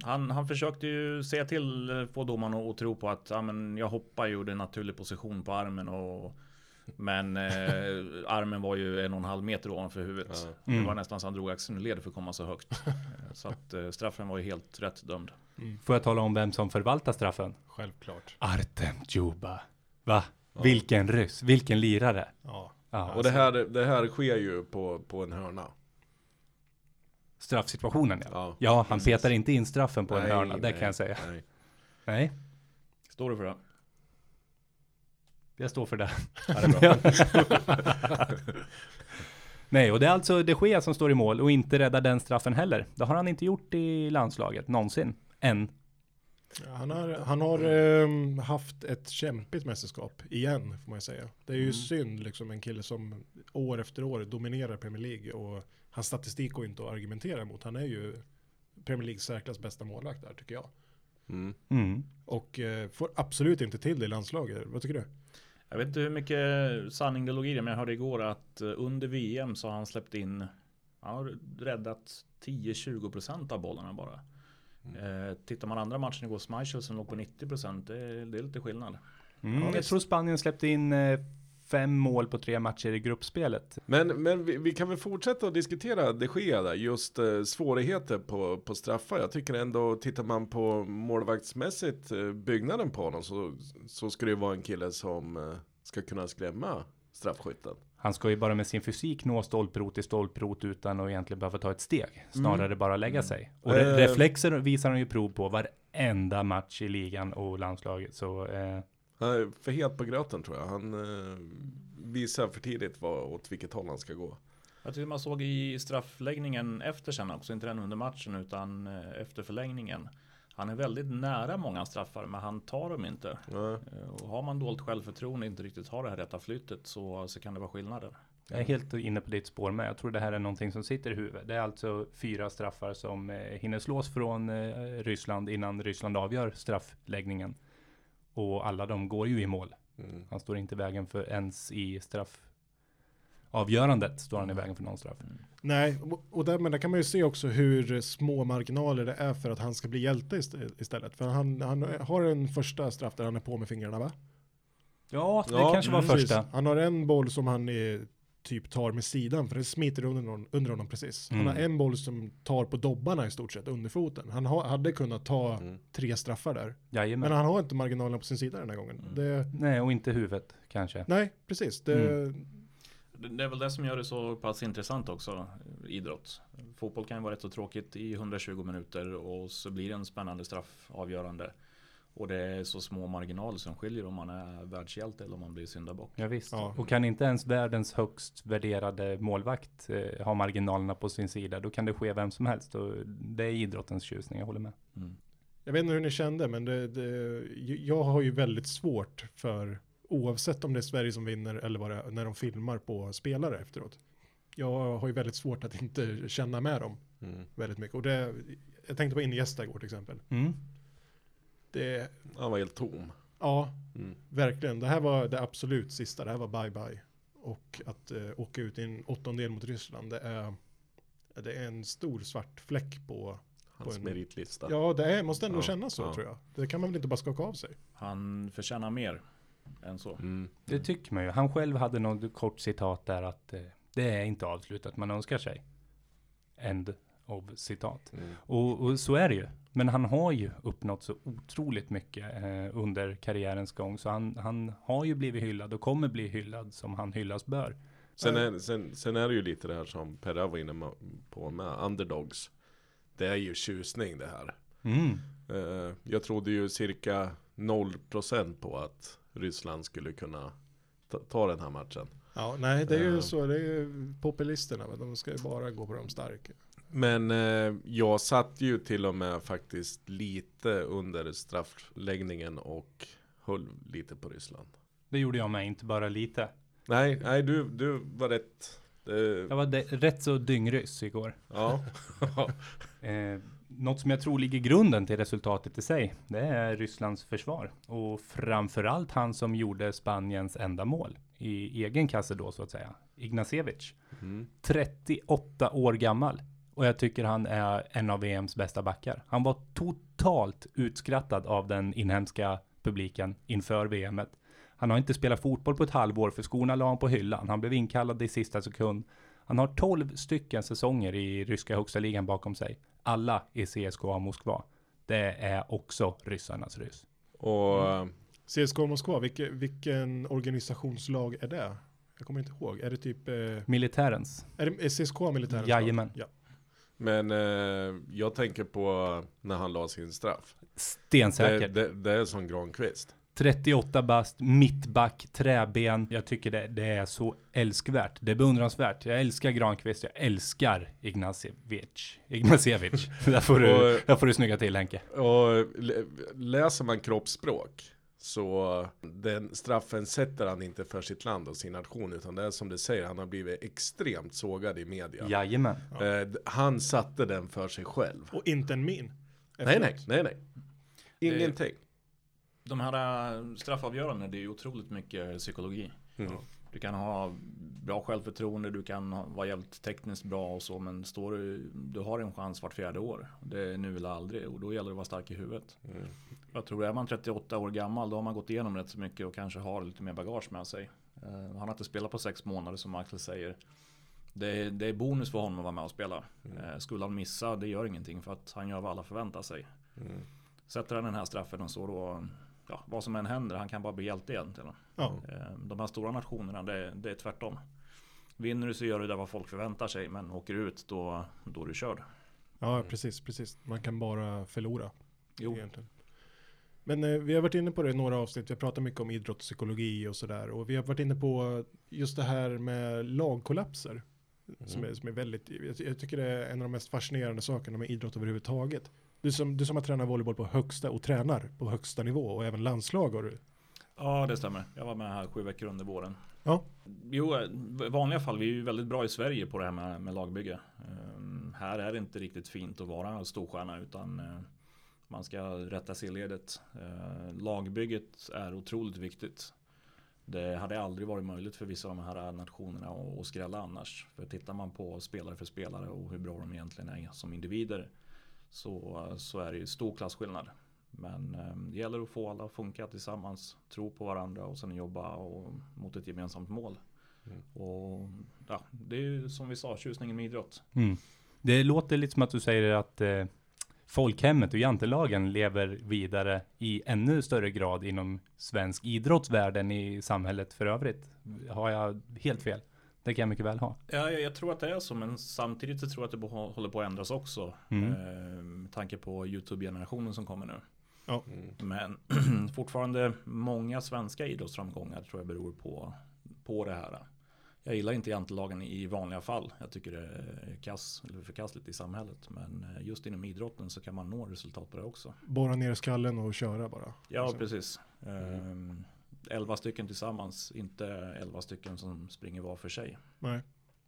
[SPEAKER 6] Han, han försökte ju säga till eh, få domaren att att tro på att ja, men jag hoppar och gjorde en naturlig position på armen. Och, men eh, armen var ju en och en halv meter ovanför huvudet. Det var nästan så han drog axeln ur led för att komma så högt. Eh, så att eh, straffen var ju helt rätt dömd.
[SPEAKER 1] Får jag tala om vem som förvaltar straffen?
[SPEAKER 4] Självklart.
[SPEAKER 1] Artem Djuba. Va? Vilken ryss, vilken lirare.
[SPEAKER 4] Ja.
[SPEAKER 1] Ja.
[SPEAKER 5] Och det här, det här sker ju på, på en hörna.
[SPEAKER 1] Straffsituationen ja.
[SPEAKER 5] Ja.
[SPEAKER 1] Ja, han petar inte in straffen på en hörna, det
[SPEAKER 5] nej,
[SPEAKER 1] kan jag säga.
[SPEAKER 5] nej.
[SPEAKER 1] Nej,
[SPEAKER 6] Står du för det?
[SPEAKER 1] jag står för det. Nej, och det är alltså De Gea som står i mål och inte räddar den straffen heller. Det har han inte gjort i landslaget någonsin. Än.
[SPEAKER 4] Han har, han har ehm, haft ett kämpigt mästerskap igen, får man ju säga. Det är ju synd, liksom en kille som år efter år dominerar Premier League och hans statistik går inte att argumentera emot. Han är ju Premier Leagues särklass bästa målvakt där, tycker jag.
[SPEAKER 5] Mm.
[SPEAKER 1] Mm.
[SPEAKER 4] Och eh, får absolut inte till det i landslaget. Vad tycker du?
[SPEAKER 6] Jag vet inte hur mycket sanning det låg i det, men jag hörde igår att eh, under VM så har han släppt in, han har räddat 10-20% av bollarna bara. Eh, tittar man andra matchen igår, Schmeichel som låg på 90%, det, är- det är lite skillnad.
[SPEAKER 1] Mm. jag tror Spanien släppte in eh, fem mål på tre matcher i gruppspelet.
[SPEAKER 5] Men, men vi, vi kan väl fortsätta att diskutera det sker där, just eh, svårigheter på, på straffar. Jag tycker ändå, tittar man på målvaktsmässigt eh, byggnaden på honom så, så ska det ju vara en kille som eh, ska kunna skrämma straffskytten.
[SPEAKER 1] Han ska ju bara med sin fysik nå stolprot till stolprot utan att egentligen behöva ta ett steg. Snarare bara lägga sig. Och re-
[SPEAKER 5] Eh.
[SPEAKER 1] reflexer visar han ju prov på varenda match i ligan och landslaget. Så eh,
[SPEAKER 5] Han är för het på gröten tror jag. Han eh, visar för tidigt vad, åt vilket håll han ska gå.
[SPEAKER 6] Jag tyckte man såg i straffläggningen efter sen också, inte den under matchen utan eh, efter förlängningen. Han är väldigt nära många straffar, men han tar dem inte.
[SPEAKER 5] Ja.
[SPEAKER 6] Eh, Och har man dolt självförtroende och inte riktigt har det här rätta flyttet så, så kan det vara skillnader.
[SPEAKER 1] jag är helt inne på ditt spår med. Jag tror det här är någonting som sitter i huvudet. Det är alltså fyra straffar som eh, hinner slås från eh, Ryssland innan Ryssland avgör straffläggningen. Och alla de går ju i mål.
[SPEAKER 5] Mm.
[SPEAKER 1] Han står inte i vägen för ens i straffavgörandet står han i vägen för någon straff.
[SPEAKER 4] Nej, och- och där, men där kan man ju se också hur små marginaler det är för att han ska bli hjälte ist- istället. För han, han har en första straff där han är på med fingrarna va?
[SPEAKER 1] Ja, mm, det
[SPEAKER 5] Ja,
[SPEAKER 1] kanske var
[SPEAKER 4] Precis.
[SPEAKER 1] första.
[SPEAKER 4] Han har en boll som han eh, typ tar med sidan för den smiter under, någon, under honom precis. Han
[SPEAKER 1] Mm.
[SPEAKER 4] har en boll som tar på dobbarna i stort sett under foten. Han ha, hade kunnat ta
[SPEAKER 5] Mm.
[SPEAKER 4] tre straffar där.
[SPEAKER 1] Jajamän.
[SPEAKER 4] Men han har inte marginalerna på sin sida den här gången.
[SPEAKER 1] Mm.
[SPEAKER 4] Det,
[SPEAKER 1] Nej, och inte huvudet kanske.
[SPEAKER 4] nej, precis. Det,
[SPEAKER 1] Mm.
[SPEAKER 6] Det det är väl det som gör det så pass intressant också, eh, idrott. Fotboll kan ju vara rätt så tråkigt i 120 minuter och så blir det en spännande straffavgörande. Och det är så små marginaler som skiljer om man är världshjälte eller om man blir syndabock.
[SPEAKER 1] Ja, visst.
[SPEAKER 4] Ja.
[SPEAKER 1] Och kan inte ens världens högst värderade målvakt eh, ha marginalerna på sin sida, då kan det ske vem som helst. Och det är idrottens tjusning, jag håller med.
[SPEAKER 6] Mm.
[SPEAKER 4] Jag vet inte hur ni kände, men det, det, jag har ju väldigt svårt för, oavsett om det är Sverige som vinner eller vad det är, när de filmar på spelare efteråt. Jag har ju väldigt svårt att inte känna med dem
[SPEAKER 5] Mm.
[SPEAKER 4] väldigt mycket. Och det, jag tänkte på Iniesta igår till exempel.
[SPEAKER 1] Mm.
[SPEAKER 4] Det,
[SPEAKER 5] Han var helt tom.
[SPEAKER 4] ja,
[SPEAKER 5] Mm.
[SPEAKER 4] verkligen. Det här var det absolut sista, det här var bye-bye. Och att eh, åka ut i en åttondel mot Ryssland, det är, det är en stor svart fläck på,
[SPEAKER 5] Hans
[SPEAKER 4] en-
[SPEAKER 5] meritlista.
[SPEAKER 4] ja det är, måste ändå
[SPEAKER 5] Ja,
[SPEAKER 4] kännas så
[SPEAKER 5] ja.
[SPEAKER 4] tror jag. Det kan man väl inte bara skaka av sig.
[SPEAKER 6] Han förtjänar mer än så.
[SPEAKER 5] Mm.
[SPEAKER 1] Det tycker man ju. Han själv hade något kort citat där att eh, det är inte avslutat man önskar sig. End of citat. Och, och så är det ju. Men han har ju uppnått så otroligt mycket eh, under karriärens gång. Så han, han har ju blivit hyllad och kommer bli hyllad som han hyllas bör.
[SPEAKER 5] Sen, är, sen, sen är det ju lite det här som Perra var inne ma- på med underdogs. Det är ju tjusning det här.
[SPEAKER 1] Mm.
[SPEAKER 5] Eh, Jag trodde ju cirka 0% på att Ryssland skulle kunna ta, ta den här matchen.
[SPEAKER 4] Ja, nej, det är ju
[SPEAKER 5] Eh.
[SPEAKER 4] så. Det är ju populisterna. va? De ska ju bara gå på de starka.
[SPEAKER 5] Men eh, jag satt ju till och med faktiskt lite under straffläggningen och höll lite på Ryssland.
[SPEAKER 1] Det gjorde jag med, inte bara lite.
[SPEAKER 5] Nej, nej du, du var rätt. Eh,
[SPEAKER 1] Jag var de- rätt så dyngryss igår.
[SPEAKER 5] ja.
[SPEAKER 1] Eh, något som jag tror ligger grunden till resultatet i sig, det är Rysslands försvar och framförallt han som gjorde Spaniens enda mål i egen kasse då så att säga. Ignacevic,
[SPEAKER 5] Mm.
[SPEAKER 1] 38 år gammal och jag tycker han är en av VMs bästa backar. Han var totalt utskrattad av den inhemska publiken inför VMet. Han har inte spelat fotboll på ett halvår för skorna la han på hyllan. Han blev inkallad i sista sekund. Han har 12 stycken säsonger i ryska högsta ligan bakom sig. Alla i CSKA Moskva. Det är också ryssarnas ryss.
[SPEAKER 5] Och eh,
[SPEAKER 4] CSKA Moskva, vilken, vilken organisationslag är det? Jag kommer inte ihåg. Är det typ, eh, är
[SPEAKER 1] Militärens.
[SPEAKER 4] det är CSKA militären?
[SPEAKER 1] Jajamän.
[SPEAKER 4] Ja.
[SPEAKER 5] Men eh, jag tänker på när han la sin straff. Det,
[SPEAKER 1] Stensäker.
[SPEAKER 5] det, det är som Granqvist.
[SPEAKER 1] 38 bast, mittback, träben. Jag tycker det, det är så älskvärt. Det är beundransvärt. Jag älskar Granqvist. Jag älskar Ignacevic. Ignacevic. där, får du,
[SPEAKER 5] Och-
[SPEAKER 1] där får du snygga till Henke.
[SPEAKER 5] Och l- läser man kroppsspråk så den straffen sätter han inte för sitt land och sin nation utan det är som du säger, han har blivit extremt sågad i media.
[SPEAKER 1] Jajamän.
[SPEAKER 5] Eh, d- han satte den för sig själv.
[SPEAKER 4] Och inte en min.
[SPEAKER 5] Nej, nej, nej, nej. Ingenting.
[SPEAKER 6] De här eh, straffavgörandena, det är ju otroligt mycket psykologi. Du kan ha bra självförtroende, du kan ha- vara jävligt tekniskt bra och så, men står du, du har en chans vart fjärde år. Det är nu eller aldrig och då gäller det att vara stark i huvudet. Jag tror är man 38 år gammal, då har man gått igenom rätt så mycket och kanske har lite mer bagage med sig. Eh, Han har inte spelat på sex månader som Axel säger. Det är, det är bonus för honom att vara med och spela. Eh, Skulle han missa, det gör ingenting för att han gör vad alla förväntar sig. Sätter han den här straffen och så då, ja, vad som än händer, han kan bara bli hjälte egentligen.
[SPEAKER 4] Ja.
[SPEAKER 6] Eh, De här stora nationerna, det, det är tvärtom. Vinner du så gör du det vad folk förväntar sig, men åker du ut då, då är du körd.
[SPEAKER 4] ja, precis, precis. Man kan bara förlora.
[SPEAKER 6] Jo,
[SPEAKER 4] egentligen. Men eh, vi har varit inne på det i några avsnitt. Vi har pratat mycket om idrottspsykologi och sådär. Och vi har varit inne på just det här med lagkollapser. Som, är, som är väldigt, jag, jag tycker det är en av de mest fascinerande sakerna med idrott överhuvudtaget. Du som, du som har tränat volleyboll på högsta och tränar på högsta nivå och även landslag har du.
[SPEAKER 6] ja det stämmer. Jag var med här sju veckor under våren.
[SPEAKER 4] Ja,
[SPEAKER 6] Jo, eh, i vanliga fall, vi är ju väldigt bra i Sverige på det här med, med lagbygge. Ehm, här är det inte riktigt fint att vara storstjärna utan eh, man ska rätta sig i ledet. Eh, lagbygget är otroligt viktigt. Det hade aldrig varit möjligt för vissa av de här nationerna att- att skrälla annars. För tittar man på spelare för spelare och hur bra de egentligen är som individer så, så är det ju stor klasskillnad. Men eh, det gäller att få alla att funka tillsammans, tro på varandra och sen jobba och, mot ett gemensamt mål. Och ja, det är ju som vi sa, tjusningen med idrott.
[SPEAKER 1] Mm. Det låter lite som att du säger att eh, folkhemmet och jantelagen lever vidare i ännu större grad inom svensk idrottsvärld än i samhället för övrigt. Har jag helt fel? Det kan jag mycket väl ha.
[SPEAKER 6] Ja, jag, jag tror att det är så, men samtidigt så tror jag att det bo- håller på att ändras också.
[SPEAKER 1] Mm.
[SPEAKER 6] Eh, med tanke på YouTube-generationen som kommer nu.
[SPEAKER 4] Ja.
[SPEAKER 6] Men fortfarande många svenska idrottsframgångar tror jag beror på, på det här. Jag gillar inte jantelagen i vanliga fall. Jag tycker det är kass, eller förkastligt i samhället. Men eh, just inom idrotten så kan man nå resultat på det också.
[SPEAKER 4] borra ner skallen och köra bara.
[SPEAKER 6] Ja, precis. Ehm, 11 stycken tillsammans, inte 11 stycken som springer var för sig.
[SPEAKER 4] Nej.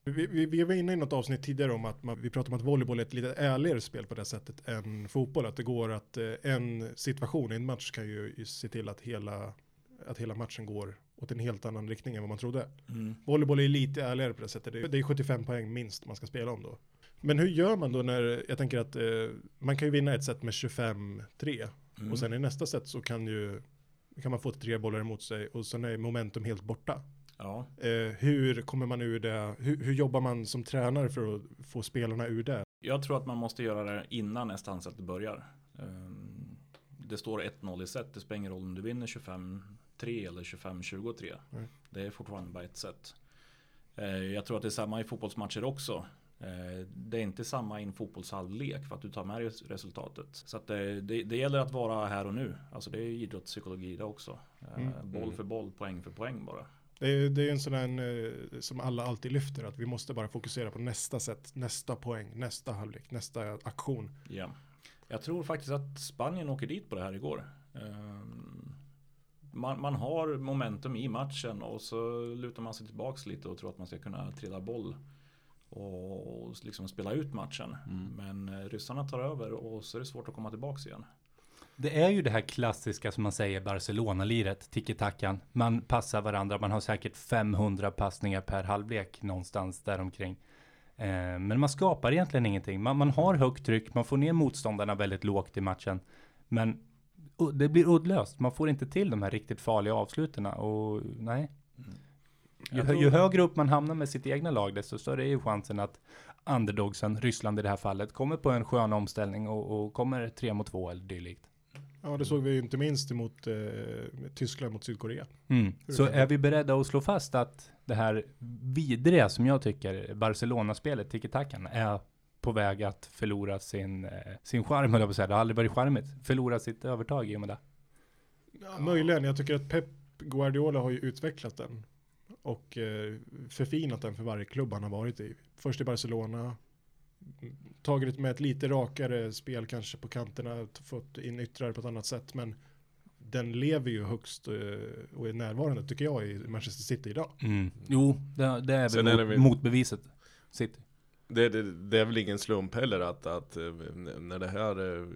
[SPEAKER 4] Vi, vi, vi var inne i något avsnitt tidigare om att man, vi pratade om att volleyboll är ett lite ärligare spel på det sättet än fotboll. Att det går att eh, en situation i en match kan ju ju se till att hela, att hela matchen går åt en helt annan riktning än vad man trodde. Volleyboll är lite ärligare på det sättet. Det är, det är 75 poäng minst man ska spela om då. Men hur gör man då när, jag tänker att eh, man kan ju vinna ett set med 25-3
[SPEAKER 6] Mm.
[SPEAKER 4] och sen i nästa set så kan ju kan man få tre bollar emot sig och sen är momentum helt borta.
[SPEAKER 6] Ja,
[SPEAKER 4] Eh, hur kommer man ur det? Hur, hur jobbar man som tränare för att få spelarna ur det?
[SPEAKER 6] jag tror att man måste göra det innan nästa ansätt börjar. Ehm, Det står 1-0 i set, det spelar ingen roll om du vinner 25-3 eller 25-23. Det är fortfarande bara ett set. Eh, Jag tror att det är samma i fotbollsmatcher också. Eh, Det är inte samma i en fotbollshalvlek för att du tar med dig resultatet. Så att det, det, det gäller att vara här och nu. Alltså det är idrottspsykologi det också. Eh, Boll för boll, poäng för poäng bara.
[SPEAKER 4] Det är, det är en sån där eh, som alla alltid lyfter, att vi måste bara fokusera på nästa sätt, nästa poäng, nästa halvlek, nästa aktion.
[SPEAKER 6] Ja. Jag tror faktiskt att Spanien åker dit på det här igår. Ehm, Man, man har momentum i matchen och så lutar man sig tillbaks lite och tror att man ska kunna trilla boll. Och, och, och liksom spela ut matchen. Men eh, ryssarna tar över och så är det svårt att komma tillbaks igen.
[SPEAKER 1] Det är ju det här klassiska som man säger Barcelona-liret, tiki-takan. Man passar varandra, man har säkert 500 passningar per halvlek någonstans däromkring. Eh, men man skapar egentligen ingenting. Man, man har högt tryck, man får ner motståndarna väldigt lågt i matchen. Men u- det blir uddlöst, man får inte till de här riktigt farliga avslutarna och nej. Ju,
[SPEAKER 6] Mm. Jag
[SPEAKER 1] hö-
[SPEAKER 6] tror-
[SPEAKER 1] ju högre upp man hamnar med sitt egna lag, desto större är ju chansen att underdogsen, Ryssland i det här fallet, kommer på en skön omställning och, och kommer tre mot två eller dylikt.
[SPEAKER 4] Ja, det såg vi ju inte minst emot eh, Tyskland mot Sydkorea.
[SPEAKER 1] Mm.
[SPEAKER 4] Hur
[SPEAKER 1] Så
[SPEAKER 4] kan det-
[SPEAKER 1] är vi beredda att slå fast att det här vidriga som jag tycker Barcelona-spelet, tiki-takan, är på väg att förlora sin, eh, sin charm, höll jag på att säga. Det har aldrig varit charmigt. Förlora sitt övertag i och med det.
[SPEAKER 4] Möjligen, jag tycker att Pep Guardiola har ju utvecklat den och eh, förfinat den för varje klubb han har varit i. Först i Barcelona, m, tagit med ett lite rakare spel kanske på kanterna, t- fått in yttrar på ett annat sätt, men den lever ju högst eh, och är närvarande tycker jag i Manchester City idag.
[SPEAKER 1] Jo, det, det är
[SPEAKER 5] Sen
[SPEAKER 1] väl
[SPEAKER 5] är
[SPEAKER 1] mot,
[SPEAKER 5] det väl-
[SPEAKER 1] motbeviset. City.
[SPEAKER 5] Det, det, det är väl ingen slump heller att, att eh, n- när det här eh,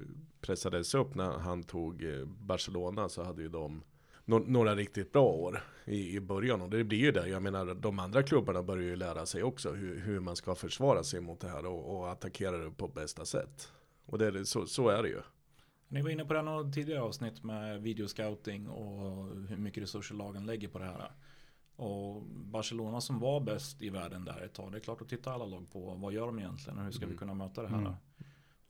[SPEAKER 5] pressades upp när han tog eh, Barcelona så hade ju de nå- några riktigt bra år i, i början och det blir ju det. Jag menar de andra klubbarna börjar ju lära sig också hur, hur man ska försvara sig mot det här och, och attackera det på bästa sätt. Och det, är det- så, så är det ju.
[SPEAKER 6] Ni var inne på det här några tidigare avsnitt med videoscouting och hur mycket resurser lagen lägger på det här. Och Barcelona som var bäst i världen där ett tag, det är klart att titta alla lag på vad gör de egentligen och hur ska vi kunna möta det här.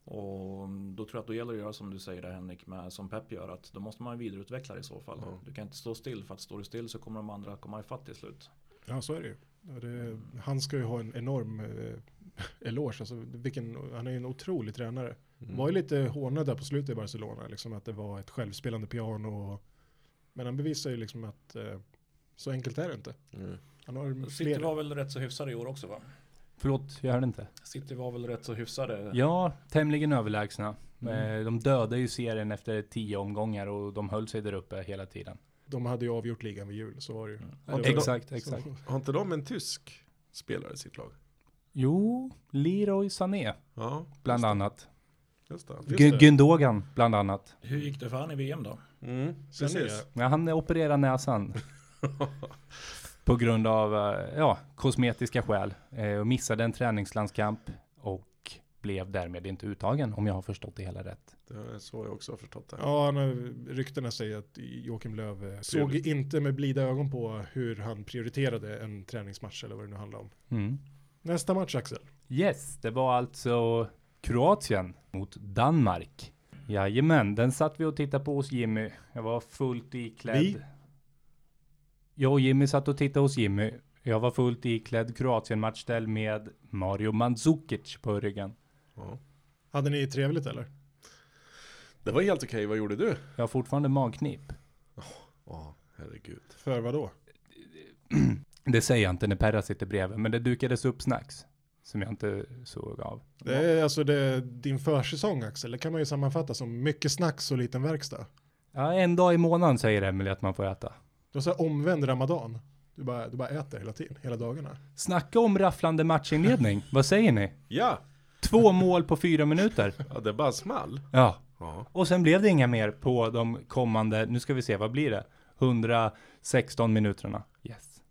[SPEAKER 6] Och då tror jag att då gäller det att göra som du säger där Henrik, med, som Pep gör, att då måste man vidareutveckla det i så fall. Du kan inte stå still för att står du still så kommer de andra komma ifatt till slut.
[SPEAKER 4] Ja, så är det ju. Ja, Det, han ska ju ha en enorm eh, eloge. Alltså, vilken, han är ju en otrolig tränare. Var ju lite hånad där på slutet i Barcelona, liksom att det var ett självspelande piano. Och, men han bevisar ju liksom att eh, så enkelt är det inte. Han har
[SPEAKER 6] City
[SPEAKER 4] Mm. fler,
[SPEAKER 6] var väl rätt så hyfsade i år också va?
[SPEAKER 1] Förlåt, jag hörde inte.
[SPEAKER 6] City var väl rätt så hyfsade.
[SPEAKER 1] Ja, tämligen överlägsna.
[SPEAKER 5] Mm.
[SPEAKER 1] Eh, De dödade ju serien efter tio omgångar och de höll sig där uppe hela tiden.
[SPEAKER 4] de hade ju avgjort ligan vid jul, så var det ju.
[SPEAKER 6] Mm.
[SPEAKER 5] Har inte,
[SPEAKER 1] Exakt, exakt.
[SPEAKER 4] Så,
[SPEAKER 5] de, har inte de en tysk spelare i sitt lag?
[SPEAKER 1] Jo, Leroy Sané,
[SPEAKER 5] Ja,
[SPEAKER 1] bland annat.
[SPEAKER 5] just det.
[SPEAKER 4] Just
[SPEAKER 1] Gü-
[SPEAKER 4] det.
[SPEAKER 1] Gündogan, bland annat.
[SPEAKER 6] Hur gick det för han i VM då?
[SPEAKER 5] Mm,
[SPEAKER 4] sen är
[SPEAKER 5] precis.
[SPEAKER 4] det,
[SPEAKER 1] Ja, han opererar näsan. på grund av eh, ja, kosmetiska skäl. Eh, och missade en träningslandskamp och blev därmed inte uttagen om jag har förstått det hela rätt.
[SPEAKER 5] Det är så jag också har förstått det.
[SPEAKER 4] ja, han har, ryktena säger att Joakim Löw eh, såg
[SPEAKER 5] Prioriter-
[SPEAKER 4] inte med blida ögon på hur han prioriterade en träningsmatch eller vad det nu handlar om.
[SPEAKER 1] Mm.
[SPEAKER 4] Nästa match Axel.
[SPEAKER 1] Yes, det var alltså Kroatien mot Danmark. Jajamän, den satt vi och tittade på hos Jimmy. Jag var fullt iklädd.
[SPEAKER 4] Vi?
[SPEAKER 1] Jag och Jimmy satt och tittade hos Jimmy. Jag var fullt iklädd Kroatien-matchställ med Mario Mandzukic på ryggen.
[SPEAKER 5] Ja.
[SPEAKER 4] Hade ni trevligt eller?
[SPEAKER 5] Det var helt okej, vad gjorde du?
[SPEAKER 1] Jag har fortfarande magknip.
[SPEAKER 5] Ja, herregud.
[SPEAKER 4] För vad då?
[SPEAKER 1] Det säger jag inte när Perra sitter bredvid, men det dukades upp snacks. Som jag inte såg av.
[SPEAKER 4] Det är alltså det, din försäsong Axel, det kan man ju sammanfatta som mycket snacks och liten verkstad.
[SPEAKER 1] Ja, en dag i månaden säger Emelie att man får äta.
[SPEAKER 4] Du har så här omvänd ramadan. Du bara, du bara äter hela tiden, hela dagarna.
[SPEAKER 1] Snacka om rafflande matchinledning. Vad säger ni?
[SPEAKER 5] Ja,
[SPEAKER 1] Två mål på fyra minuter.
[SPEAKER 5] ja det bara small.
[SPEAKER 1] Ja.
[SPEAKER 5] Ja.
[SPEAKER 1] Och sen blev det inga mer på de kommande, nu ska vi se, vad blir det? 116 minuterna. Yes.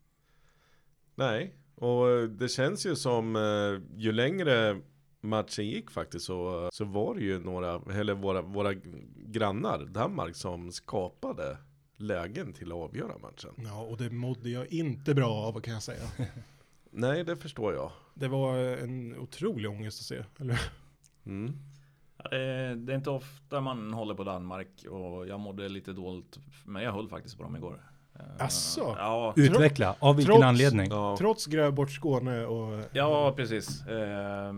[SPEAKER 5] Nej, och eh, det känns ju som eh, ju längre matchen gick faktiskt så, eh, så var det ju några, eller våra, våra grannar, Danmark, som skapade lägen till att avgöra matchen.
[SPEAKER 4] Ja, och det mådde jag inte bra av kan jag säga.
[SPEAKER 5] Nej, det förstår jag.
[SPEAKER 4] Det var en otrolig ångest att se. Eller?
[SPEAKER 5] Mm.
[SPEAKER 6] Ja, Det är, Eh, det är inte ofta man håller på Danmark och jag mådde lite dåligt. Men jag höll faktiskt på dem igår. Eh,
[SPEAKER 4] Asså?
[SPEAKER 6] Ja,
[SPEAKER 1] Utveckla, av vilken
[SPEAKER 4] trots-
[SPEAKER 1] anledning?
[SPEAKER 5] Ja.
[SPEAKER 4] Trots gräv bort Skåne och...
[SPEAKER 6] ja precis. Eh,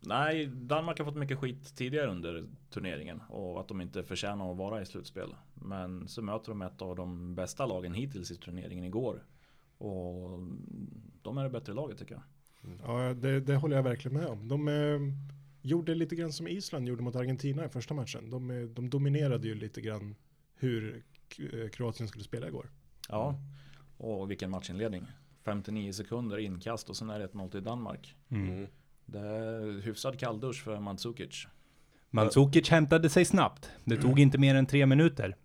[SPEAKER 6] nej, Danmark har fått mycket skit tidigare under turneringen och att de inte förtjänar att vara i slutspel. Men så möter de ett av de bästa lagen hittills i turneringen igår. Och de är det bättre laget tycker jag.
[SPEAKER 4] Ja, det, det håller jag verkligen med om. De eh, gjorde lite grann som Island gjorde mot Argentina i första matchen. De, eh, de dominerade ju lite grann hur K- eh, Kroatien skulle spela igår.
[SPEAKER 6] Ja, och vilken matchinledning. 59 sekunder inkast och sen är det 1-0 till Danmark.
[SPEAKER 5] Mm.
[SPEAKER 6] Det är hyfsad kalldusch för Mandzukic.
[SPEAKER 1] Mandzukic hämtade sig snabbt. Det tog inte mer än tre minuter.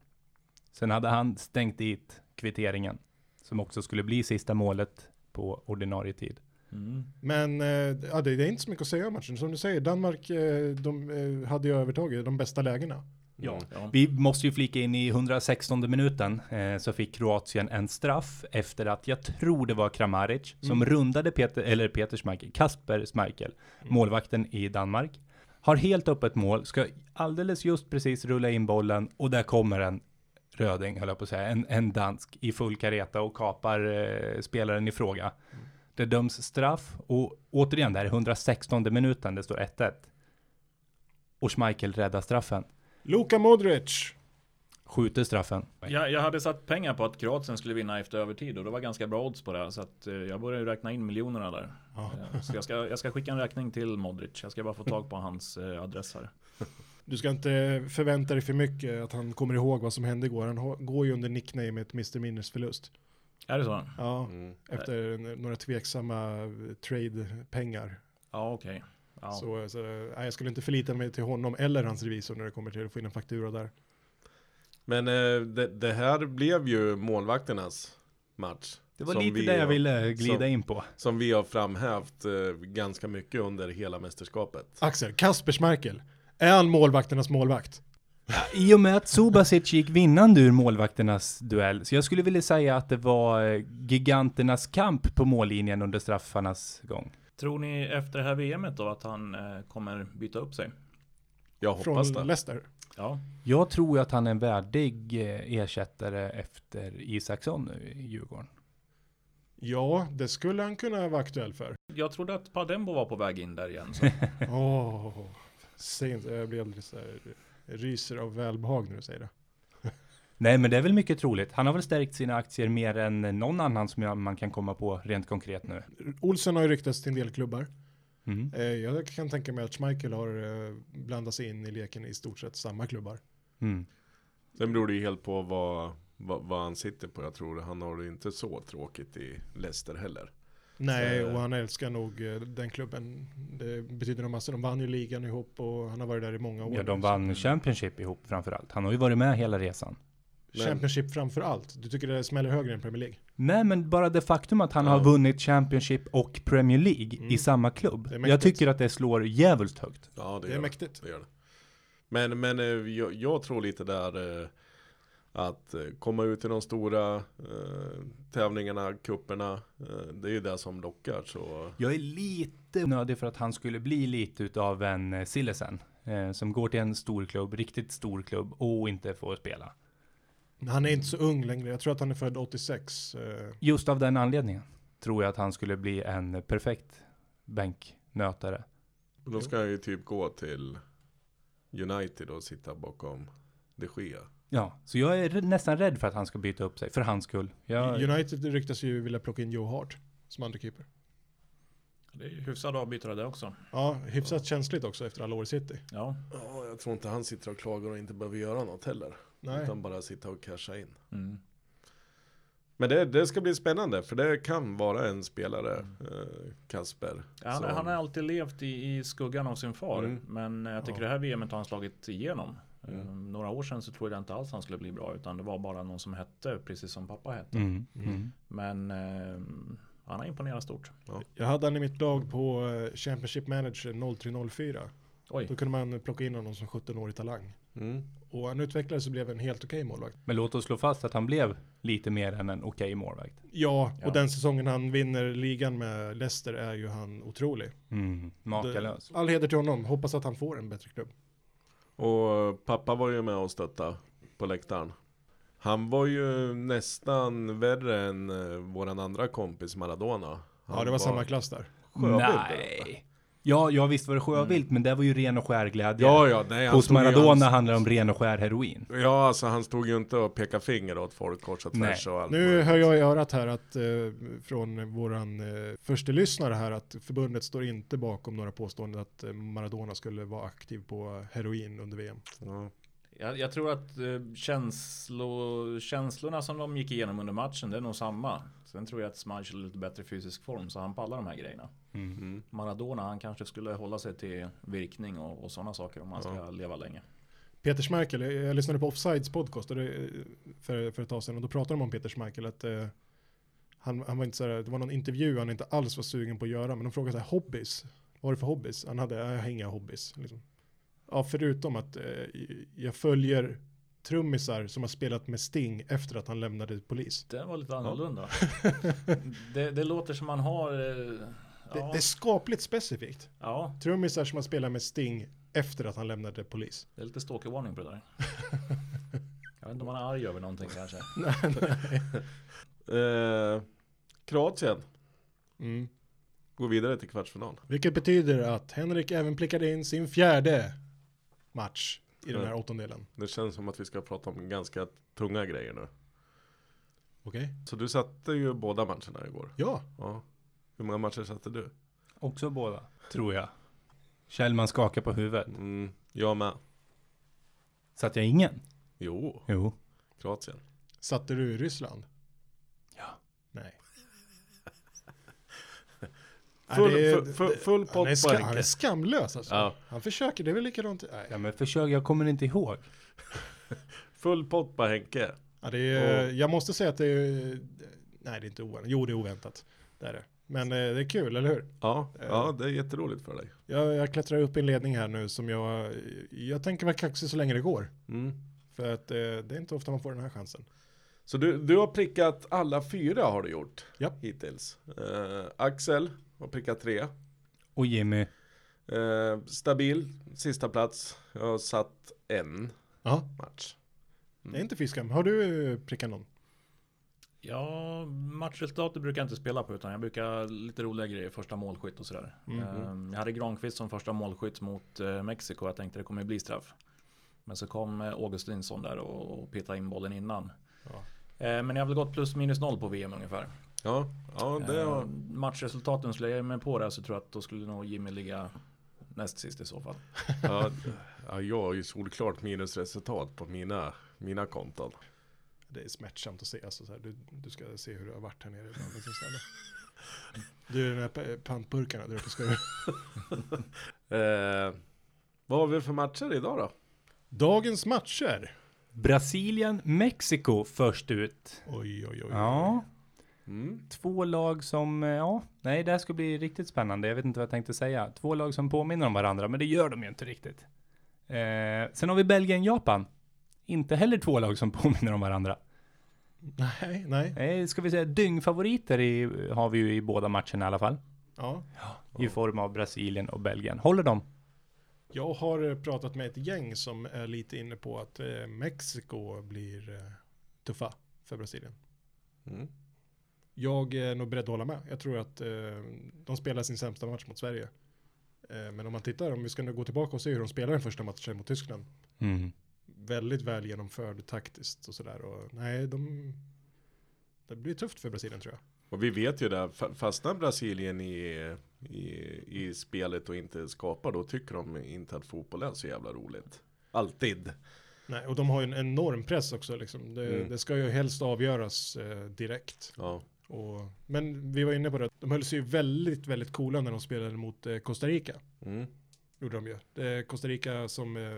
[SPEAKER 1] Sen hade han stängt dit kvitteringen som också skulle bli sista målet på ordinarie tid.
[SPEAKER 6] Mm.
[SPEAKER 4] Men eh, ja, det, det är inte så mycket att säga om matchen. Som du säger, Danmark eh, de, eh, hade ju övertaget de bästa lägena.
[SPEAKER 1] Ja.
[SPEAKER 6] Ja.
[SPEAKER 1] Vi måste ju flika in i 116 minuten eh, så fick Kroatien en straff efter att jag tror det var Kramaric som rundade Peter, eller Peter Schmeichel, Kasper Schmeichel, målvakten i Danmark. Har helt öppet mål, ska alldeles just precis rulla in bollen och där kommer en röding, höll jag på att säga, en, en dansk i full kareta och kapar eh, spelaren i fråga. Det döms straff och återigen där 116 minuten, det står 1-1. Och Schmeichel räddar straffen,
[SPEAKER 4] Luka Modric!
[SPEAKER 1] skjuter straffen.
[SPEAKER 6] Jag, jag hade satt pengar på att Kroatien skulle vinna efter övertid och det var ganska bra odds på det. Så att eh, jag började ju räkna in miljonerna där. Eh, Så jag ska, jag ska skicka en räkning till Modric. Jag ska bara få tag på hans eh, adress här.
[SPEAKER 4] Du ska inte förvänta dig för mycket att han kommer ihåg vad som hände igår. Han har, går ju under nicknamet Mr. Minners förlust.
[SPEAKER 6] Är det så?
[SPEAKER 4] Ja,
[SPEAKER 5] Mm.
[SPEAKER 4] efter n- några tveksamma eh, trade-pengar.
[SPEAKER 6] Ja, okej. Ja.
[SPEAKER 4] Så, så nej, jag skulle inte förlita mig till honom eller hans revisor när det kommer till att få in en faktura där.
[SPEAKER 5] Men eh, det, det här blev ju målvakternas match.
[SPEAKER 1] Det var
[SPEAKER 5] Som
[SPEAKER 1] lite
[SPEAKER 5] vi
[SPEAKER 1] det jag
[SPEAKER 5] har-
[SPEAKER 1] ville glida
[SPEAKER 5] som-
[SPEAKER 1] in på.
[SPEAKER 5] Som vi har framhävt eh, ganska mycket under hela mästerskapet.
[SPEAKER 4] Axel, Kasper Schmeichel. Är han målvakternas målvakt?
[SPEAKER 1] I och med att Subasic gick vinnande ur målvakternas duell, så jag skulle vilja säga att det var eh, giganternas kamp på mållinjen under straffarnas gång.
[SPEAKER 6] Tror ni efter det här VMet då att han eh, kommer byta upp sig?
[SPEAKER 5] Jag hoppas
[SPEAKER 4] Från
[SPEAKER 5] det.
[SPEAKER 4] Leicester.
[SPEAKER 6] Ja,
[SPEAKER 1] Jag tror ju att han är en värdig eh, ersättare efter Isaksson nu i Djurgården.
[SPEAKER 4] Ja, det skulle han kunna vara aktuell för.
[SPEAKER 6] jag trodde att Padembo var på väg in där igen. Så.
[SPEAKER 4] Åh, säg inte, jag blir alldeles så här, ryser av välbehag när du säger det.
[SPEAKER 1] Nej, men det är väl mycket troligt. Han har väl stärkt sina aktier mer än någon annan som jag, man kan komma på rent konkret nu.
[SPEAKER 4] Olsen har ju ryktats till en del klubbar.
[SPEAKER 1] Mm.
[SPEAKER 4] Eh, Jag kan tänka mig att Schmeichel har eh, blandat sig in i leken i stort sett samma klubbar.
[SPEAKER 1] Mm.
[SPEAKER 5] Sen beror det ju helt på vad, vad, vad han sitter på. Jag tror han har det inte så tråkigt i Leicester heller.
[SPEAKER 4] Nej,
[SPEAKER 5] Så-
[SPEAKER 4] och han älskar nog eh, den klubben. Det betyder nog massor. De vann ju ligan ihop och han har varit där i många år.
[SPEAKER 1] Ja, de vann Championship ihop framför allt. Han har ju varit med hela resan.
[SPEAKER 4] Championship framför allt. Du tycker det smäller högre än Premier League?
[SPEAKER 1] Nej, men bara det faktum att han
[SPEAKER 5] Ja.
[SPEAKER 1] har vunnit Championship och Premier League i samma klubb.
[SPEAKER 4] Det är mäktigt.
[SPEAKER 1] Jag tycker att Mm. det slår djävulskt högt.
[SPEAKER 5] Ja, det,
[SPEAKER 4] Det
[SPEAKER 5] gör
[SPEAKER 4] är
[SPEAKER 5] det.
[SPEAKER 4] mäktigt.
[SPEAKER 5] Det gör det. Men, men eh, jag, jag tror lite där eh, att eh, komma ut i de stora eh, tävlingarna, kupperna. Eh, det är ju det som lockar. Så
[SPEAKER 1] Jag är lite nödig för att han skulle bli lite utav en eh, Sillesen. Eh, som går till en stor klubb, riktigt stor klubb och inte får spela.
[SPEAKER 4] Han är inte så ung längre. Jag tror att han är född 86. eh,
[SPEAKER 1] Just av den anledningen tror jag att han skulle bli en perfekt bänknötare.
[SPEAKER 5] då ska jag ju typ gå till United och sitta bakom de Gea.
[SPEAKER 1] Ja, så jag är r- nästan rädd för att han ska byta upp sig för hans skull. Jag,
[SPEAKER 4] United ryktas ju vilja plocka in Joe Hart som andra keeper.
[SPEAKER 6] Det är ju hyfsad avbytare det också.
[SPEAKER 4] Ja, hyfsat känsligt också efter alla år i City.
[SPEAKER 6] Ja,
[SPEAKER 5] Ja, jag tror inte han sitter och klagar och inte behöver göra något heller.
[SPEAKER 4] Nej.
[SPEAKER 5] Utan bara sitta och casha in.
[SPEAKER 6] mm.
[SPEAKER 5] Men det, det ska bli spännande för det kan vara en spelare, eh, Kasper.
[SPEAKER 6] han,
[SPEAKER 5] som-
[SPEAKER 6] han har alltid levt i, i skuggan av sin far.
[SPEAKER 5] Mm.
[SPEAKER 6] Men eh, jag tycker det här VMet har han slagit igenom. Eh, Några år sedan så trodde jag inte alls han skulle bli bra. Utan det var bara någon som hette precis som pappa hette.
[SPEAKER 1] mm, mm.
[SPEAKER 6] Men eh, han har imponerat stort.
[SPEAKER 4] Jag hade han i mitt lag på eh, Championship Manager 0304. Då
[SPEAKER 6] Oj,
[SPEAKER 4] kunde man plocka in honom som 17-årig talang.
[SPEAKER 5] Mm.
[SPEAKER 4] Och han utvecklades och blev en helt okej målvakt.
[SPEAKER 1] Men låt oss slå fast att han blev lite mer än en okej målvakt.
[SPEAKER 4] Ja,
[SPEAKER 6] Ja.
[SPEAKER 4] och den säsongen han vinner ligan med Leicester är ju han otrolig.
[SPEAKER 1] Mm. Makalös.
[SPEAKER 4] Det- All heder till honom, hoppas att han får en bättre klubb.
[SPEAKER 5] Och pappa var ju med och stötta på läktaren. Han var ju nästan värre än eh, våran andra kompis Maradona. Han
[SPEAKER 4] Ja, det var samma klass där.
[SPEAKER 5] sjövild.
[SPEAKER 1] Nej. Ja, jag visst var det sjövilt, men det var ju ren och skär glädje.
[SPEAKER 5] Ja, ja, nej. han
[SPEAKER 1] Hos
[SPEAKER 5] stod ju-
[SPEAKER 1] Maradona
[SPEAKER 5] han-
[SPEAKER 1] handlar det om ren och skär heroin.
[SPEAKER 5] Ja, alltså han stod ju inte och pekade finger åt folk kors och tvärs och allt.
[SPEAKER 4] Nu hör jag i örat här att eh, från våran eh, första lyssnare här att förbundet står inte bakom några påståenden att eh, Maradona skulle vara aktiv på heroin eh, under VM.
[SPEAKER 5] Ja.
[SPEAKER 6] Jag, jag tror att eh, känslo, känslorna som de gick igenom under matchen, det är nog samma. Sen tror jag att Smudge är lite bättre fysisk form, så han pallar de här grejerna.
[SPEAKER 5] Mm.
[SPEAKER 6] Maradona, han kanske skulle hålla sig till virkning och, och sådana saker om han ska leva länge.
[SPEAKER 4] Peter Schmeichel, jag jag lyssnade på Offsides podcast och det, eh, för, för ett tag sedan och då pratade de om Peter Schmeichel att eh, han, han var inte så här, det var någon intervju han inte alls var sugen på att göra men de frågade så här, hobbies, vad är det för hobbies? Han hade, "Nej, jag har inga hobbies. Liksom. Ja, förutom att eh, jag följer trummisar som har spelat med Sting efter att han lämnade polis.
[SPEAKER 6] Det var lite annorlunda. det, det låter som man har... eh,
[SPEAKER 4] Det,
[SPEAKER 6] Ja,
[SPEAKER 4] det är skapligt specifikt.
[SPEAKER 6] ja,
[SPEAKER 4] Trummisar som har spelat med Sting efter att han lämnade polis.
[SPEAKER 6] det är lite stalkervarning på det där. Jag vet inte om man är arg över någonting kanske.
[SPEAKER 5] Eh, Kroatien
[SPEAKER 4] Mm.
[SPEAKER 5] går vidare till kvartsfinal.
[SPEAKER 4] Vilket betyder att Henrik även prickade in sin fjärde match i
[SPEAKER 5] Mm.
[SPEAKER 4] den här åttondelen.
[SPEAKER 5] Det känns som att vi ska prata om ganska tunga grejer nu.
[SPEAKER 4] Okej.
[SPEAKER 5] Så du satte ju båda matcherna igår.
[SPEAKER 4] Ja,
[SPEAKER 5] Ja. Hur många matcher satte du?
[SPEAKER 1] Också båda, tror jag. Kjellman skakar på huvudet.
[SPEAKER 5] Mm, jag med.
[SPEAKER 1] Satt jag ingen?
[SPEAKER 5] Jo,
[SPEAKER 1] Jo.
[SPEAKER 5] Kroatien.
[SPEAKER 4] satte du i Ryssland?
[SPEAKER 1] Ja.
[SPEAKER 4] Nej.
[SPEAKER 5] Full-
[SPEAKER 4] Nej, det är-
[SPEAKER 5] fu- fu- full pott
[SPEAKER 4] han, är
[SPEAKER 5] på
[SPEAKER 4] skam,
[SPEAKER 5] Henke.
[SPEAKER 4] han är skamlös alltså.
[SPEAKER 5] Ja.
[SPEAKER 4] Han försöker, det är väl likadant.
[SPEAKER 1] Ja
[SPEAKER 4] Nej.
[SPEAKER 1] men försök, jag kommer inte ihåg.
[SPEAKER 5] Full pott på Henke.
[SPEAKER 4] Ja, det är, Jag måste säga att det är... Nej, det är inte oväntat. Jo, det är oväntat. Det är det. Men eh, det är kul, eller hur?
[SPEAKER 5] Ja,
[SPEAKER 4] Eh.
[SPEAKER 5] ja, det är jätteroligt för dig.
[SPEAKER 4] Jag, jag klättrar upp i en ledning här nu som jag... Jag tänker vara kaxig så länge det går.
[SPEAKER 5] Mm.
[SPEAKER 4] För att eh, det är inte ofta man får den här chansen.
[SPEAKER 5] Så du, du har prickat alla fyra har du gjort
[SPEAKER 4] Ja.
[SPEAKER 5] hittills. Eh, Axel har prickat tre.
[SPEAKER 1] Och Jimmy,
[SPEAKER 5] Eh, stabil, sista plats. Jag har satt en
[SPEAKER 4] Ja,
[SPEAKER 5] match.
[SPEAKER 4] det är inte fiskam. Har du eh, prickat någon?
[SPEAKER 6] Ja, matchresultatet brukar jag inte spela på utan jag brukar lite roliga grejer, första målskytt och sådär.
[SPEAKER 4] Mhm.
[SPEAKER 6] Ehm, Jag hade Granqvist som första målskytt mot eh, Mexiko, jag tänkte det kommer bli straff. Men så kom eh, Augustinsson där och, och petade in bollen innan. Ehm, Men jag har väl gått plus minus noll på VM ungefär.
[SPEAKER 5] Ja, ja det
[SPEAKER 1] Eh.
[SPEAKER 5] har...
[SPEAKER 4] Eh.
[SPEAKER 6] Ehm, Matchresultaten skulle jag ge mig på det så tror jag att då skulle nog Jimmy ligga näst sist i så fall.
[SPEAKER 5] Ja, ja, jag har ju solklart minusresultat på mina, mina konton.
[SPEAKER 4] Det är smärtsamt att se. Alltså, så här, du, du ska se hur du har varit här nere. ibland, liksom, så här. Du, den här pa- pantburkarna där uppe ska du...
[SPEAKER 5] Eh, vad har vi för matcher idag då?
[SPEAKER 4] Dagens matcher.
[SPEAKER 1] Brasilien, Mexiko först ut.
[SPEAKER 4] Oj, oj, oj.
[SPEAKER 1] Ja.
[SPEAKER 5] Mm.
[SPEAKER 1] Två lag som, eh, ja, nej det här ska bli riktigt spännande. Jag vet inte vad jag tänkte säga. Två lag som påminner om varandra, men det gör de ju inte riktigt. Eh, sen har vi Belgien, Japan. Inte heller två lag som påminner om varandra.
[SPEAKER 4] Nej, nej.
[SPEAKER 1] Eh, ska vi säga dyngfavoriter i, har vi ju i båda matcherna i alla fall.
[SPEAKER 4] Ja.
[SPEAKER 1] I form av Brasilien och Belgien. Håller de?
[SPEAKER 4] Jag har eh, pratat med ett gäng som är lite inne på att eh, Mexiko blir eh, tuffa för Brasilien.
[SPEAKER 5] Mm.
[SPEAKER 4] Jag är nog beredd att hålla med. Jag tror att eh, de spelar sin sämsta match mot Sverige. Eh, men om man tittar, om vi ska nu gå tillbaka och se hur de spelar den första matchen mot Tyskland. Väldigt väl genomförd taktiskt och sådär. Och, nej, de, det blir tufft för Brasilien tror jag.
[SPEAKER 5] Och vi vet ju det, fa- fastnar Brasilien i, i, i spelet och inte skapar, då tycker de inte att fotboll är så jävla roligt. Alltid.
[SPEAKER 4] Nej, och de har ju en enorm press också. Liksom. Det,
[SPEAKER 5] Mm.
[SPEAKER 4] det ska ju helst avgöras eh, direkt.
[SPEAKER 5] Ja.
[SPEAKER 4] Och, men vi var inne på det, de höll sig ju väldigt, väldigt coola när de spelade mot eh, Costa Rica.
[SPEAKER 5] Mm.
[SPEAKER 4] gjorde de ju. Det är Costa Rica som... eh,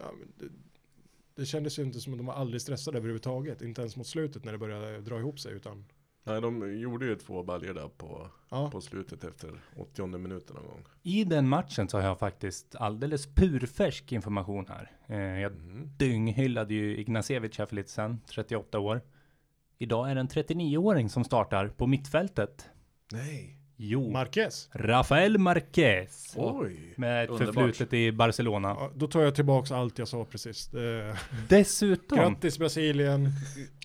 [SPEAKER 4] Ja, men det, det kändes ju inte som att de var aldrig stressade överhuvudtaget. Inte ens mot slutet när det började dra ihop sig. Utan,
[SPEAKER 5] Nej, de gjorde ju två baljor där på,
[SPEAKER 4] ja,
[SPEAKER 5] på slutet efter 80 minuten någon gång.
[SPEAKER 1] I den matchen så har jag faktiskt alldeles purfärsk information här. Eh, jag
[SPEAKER 5] Mm.
[SPEAKER 1] dynghyllade ju Ignacevic här för lite sen, 38 år. Idag är det en 39-åring som startar på mittfältet.
[SPEAKER 5] Nej.
[SPEAKER 1] Jo,
[SPEAKER 4] Marquez.
[SPEAKER 1] Rafael Marquez.
[SPEAKER 5] Oj.
[SPEAKER 1] Med ett
[SPEAKER 6] Underbart.
[SPEAKER 1] förflutet i Barcelona.
[SPEAKER 4] Ja, då tar jag tillbaka allt jag sa precis. Eh,
[SPEAKER 1] Dessutom,
[SPEAKER 4] Grattis Brasilien.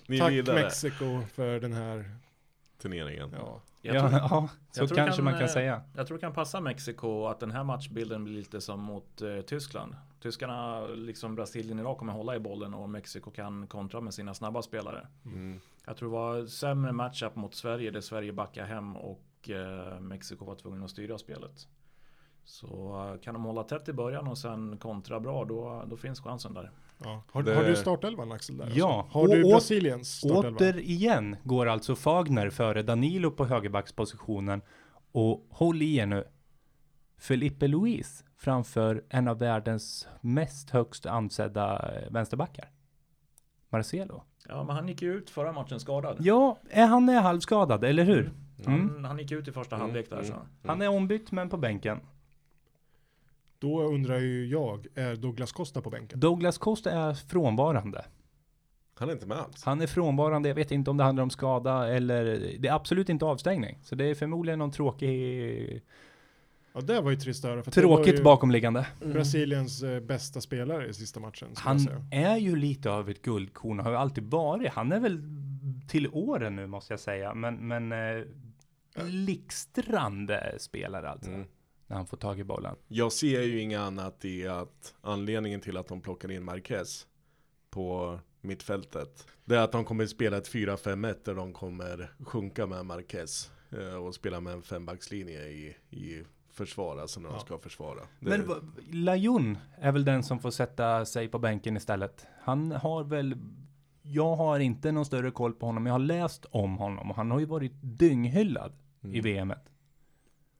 [SPEAKER 5] Ni är
[SPEAKER 4] Tack
[SPEAKER 5] vidare.
[SPEAKER 4] Mexiko för den här.
[SPEAKER 5] Turneringen.
[SPEAKER 4] Ja.
[SPEAKER 6] Jag
[SPEAKER 1] ja,
[SPEAKER 6] tror-
[SPEAKER 1] ja, så
[SPEAKER 6] jag tror
[SPEAKER 1] kanske
[SPEAKER 6] kan,
[SPEAKER 1] man kan
[SPEAKER 6] eh,
[SPEAKER 1] säga.
[SPEAKER 6] Jag tror det kan passa Mexiko att den här matchbilden blir lite som mot eh, Tyskland. Tyskarna, liksom Brasilien idag, kommer hålla i bollen och Mexiko kan kontra med sina snabba spelare.
[SPEAKER 5] Mm.
[SPEAKER 6] Jag tror det var sämre matchup mot Sverige där Sverige backade hem och eh, Mexiko var tvungen att styra spelet. Så eh, kan de hålla tätt i början och sen kontra bra, då, då finns chansen där.
[SPEAKER 4] Ja. Har,
[SPEAKER 5] Det-
[SPEAKER 4] har du startelvan Axel? Där
[SPEAKER 1] Ja.
[SPEAKER 4] Också? Har
[SPEAKER 1] Och
[SPEAKER 4] du
[SPEAKER 1] åt-
[SPEAKER 4] Brasiliens startelva?
[SPEAKER 1] Återigen går alltså Fagner före Danilo på högerbackspositionen. Och håll i er nu. Felipe Luis framför en av världens mest högst ansedda eh, vänsterbackar. Marcelo.
[SPEAKER 6] Ja, men han gick ju ut förra matchen skadad.
[SPEAKER 1] Ja, är han är halvskadad, eller hur?
[SPEAKER 6] Han, han gick ut i första
[SPEAKER 5] Mm.
[SPEAKER 6] halvlek där så.
[SPEAKER 1] Mm. Han är ombytt men på bänken.
[SPEAKER 4] Då undrar ju jag, är Douglas Costa på bänken?
[SPEAKER 1] Douglas Costa är frånvarande.
[SPEAKER 5] Han är inte med alls.
[SPEAKER 1] Han är frånvarande, jag vet inte om det handlar om skada eller... Det är absolut inte avstängning. Så det är förmodligen någon tråkig...
[SPEAKER 4] Ja, det var ju trist att höra. För att det var
[SPEAKER 1] Tråkigt
[SPEAKER 4] ju
[SPEAKER 1] bakomliggande.
[SPEAKER 4] Brasiliens eh, bästa spelare i sista matchen. skulle jag
[SPEAKER 1] Han
[SPEAKER 4] säga.
[SPEAKER 1] är ju lite av ett guldkorn och har ju alltid varit. Han är väl till åren nu måste jag säga. Men, men eh, blixtrande spelare alltså.
[SPEAKER 5] Mm.
[SPEAKER 1] När han får tag i bollen.
[SPEAKER 5] Jag ser ju inget annat i att anledningen till att de plockar in Marquez på mittfältet. Det är att de kommer spela ett 4-5-1 där de kommer sjunka med Marquez. eh, Och spela med en fembackslinje i, i försvar, alltså när de ska försvara. Det,
[SPEAKER 1] Men va- Lajon är väl den som får sätta sig på bänken istället. Han har väl, jag har inte någon större koll på honom. Jag har läst om honom och han har ju varit dynghyllad
[SPEAKER 5] Mm.
[SPEAKER 1] i VMet.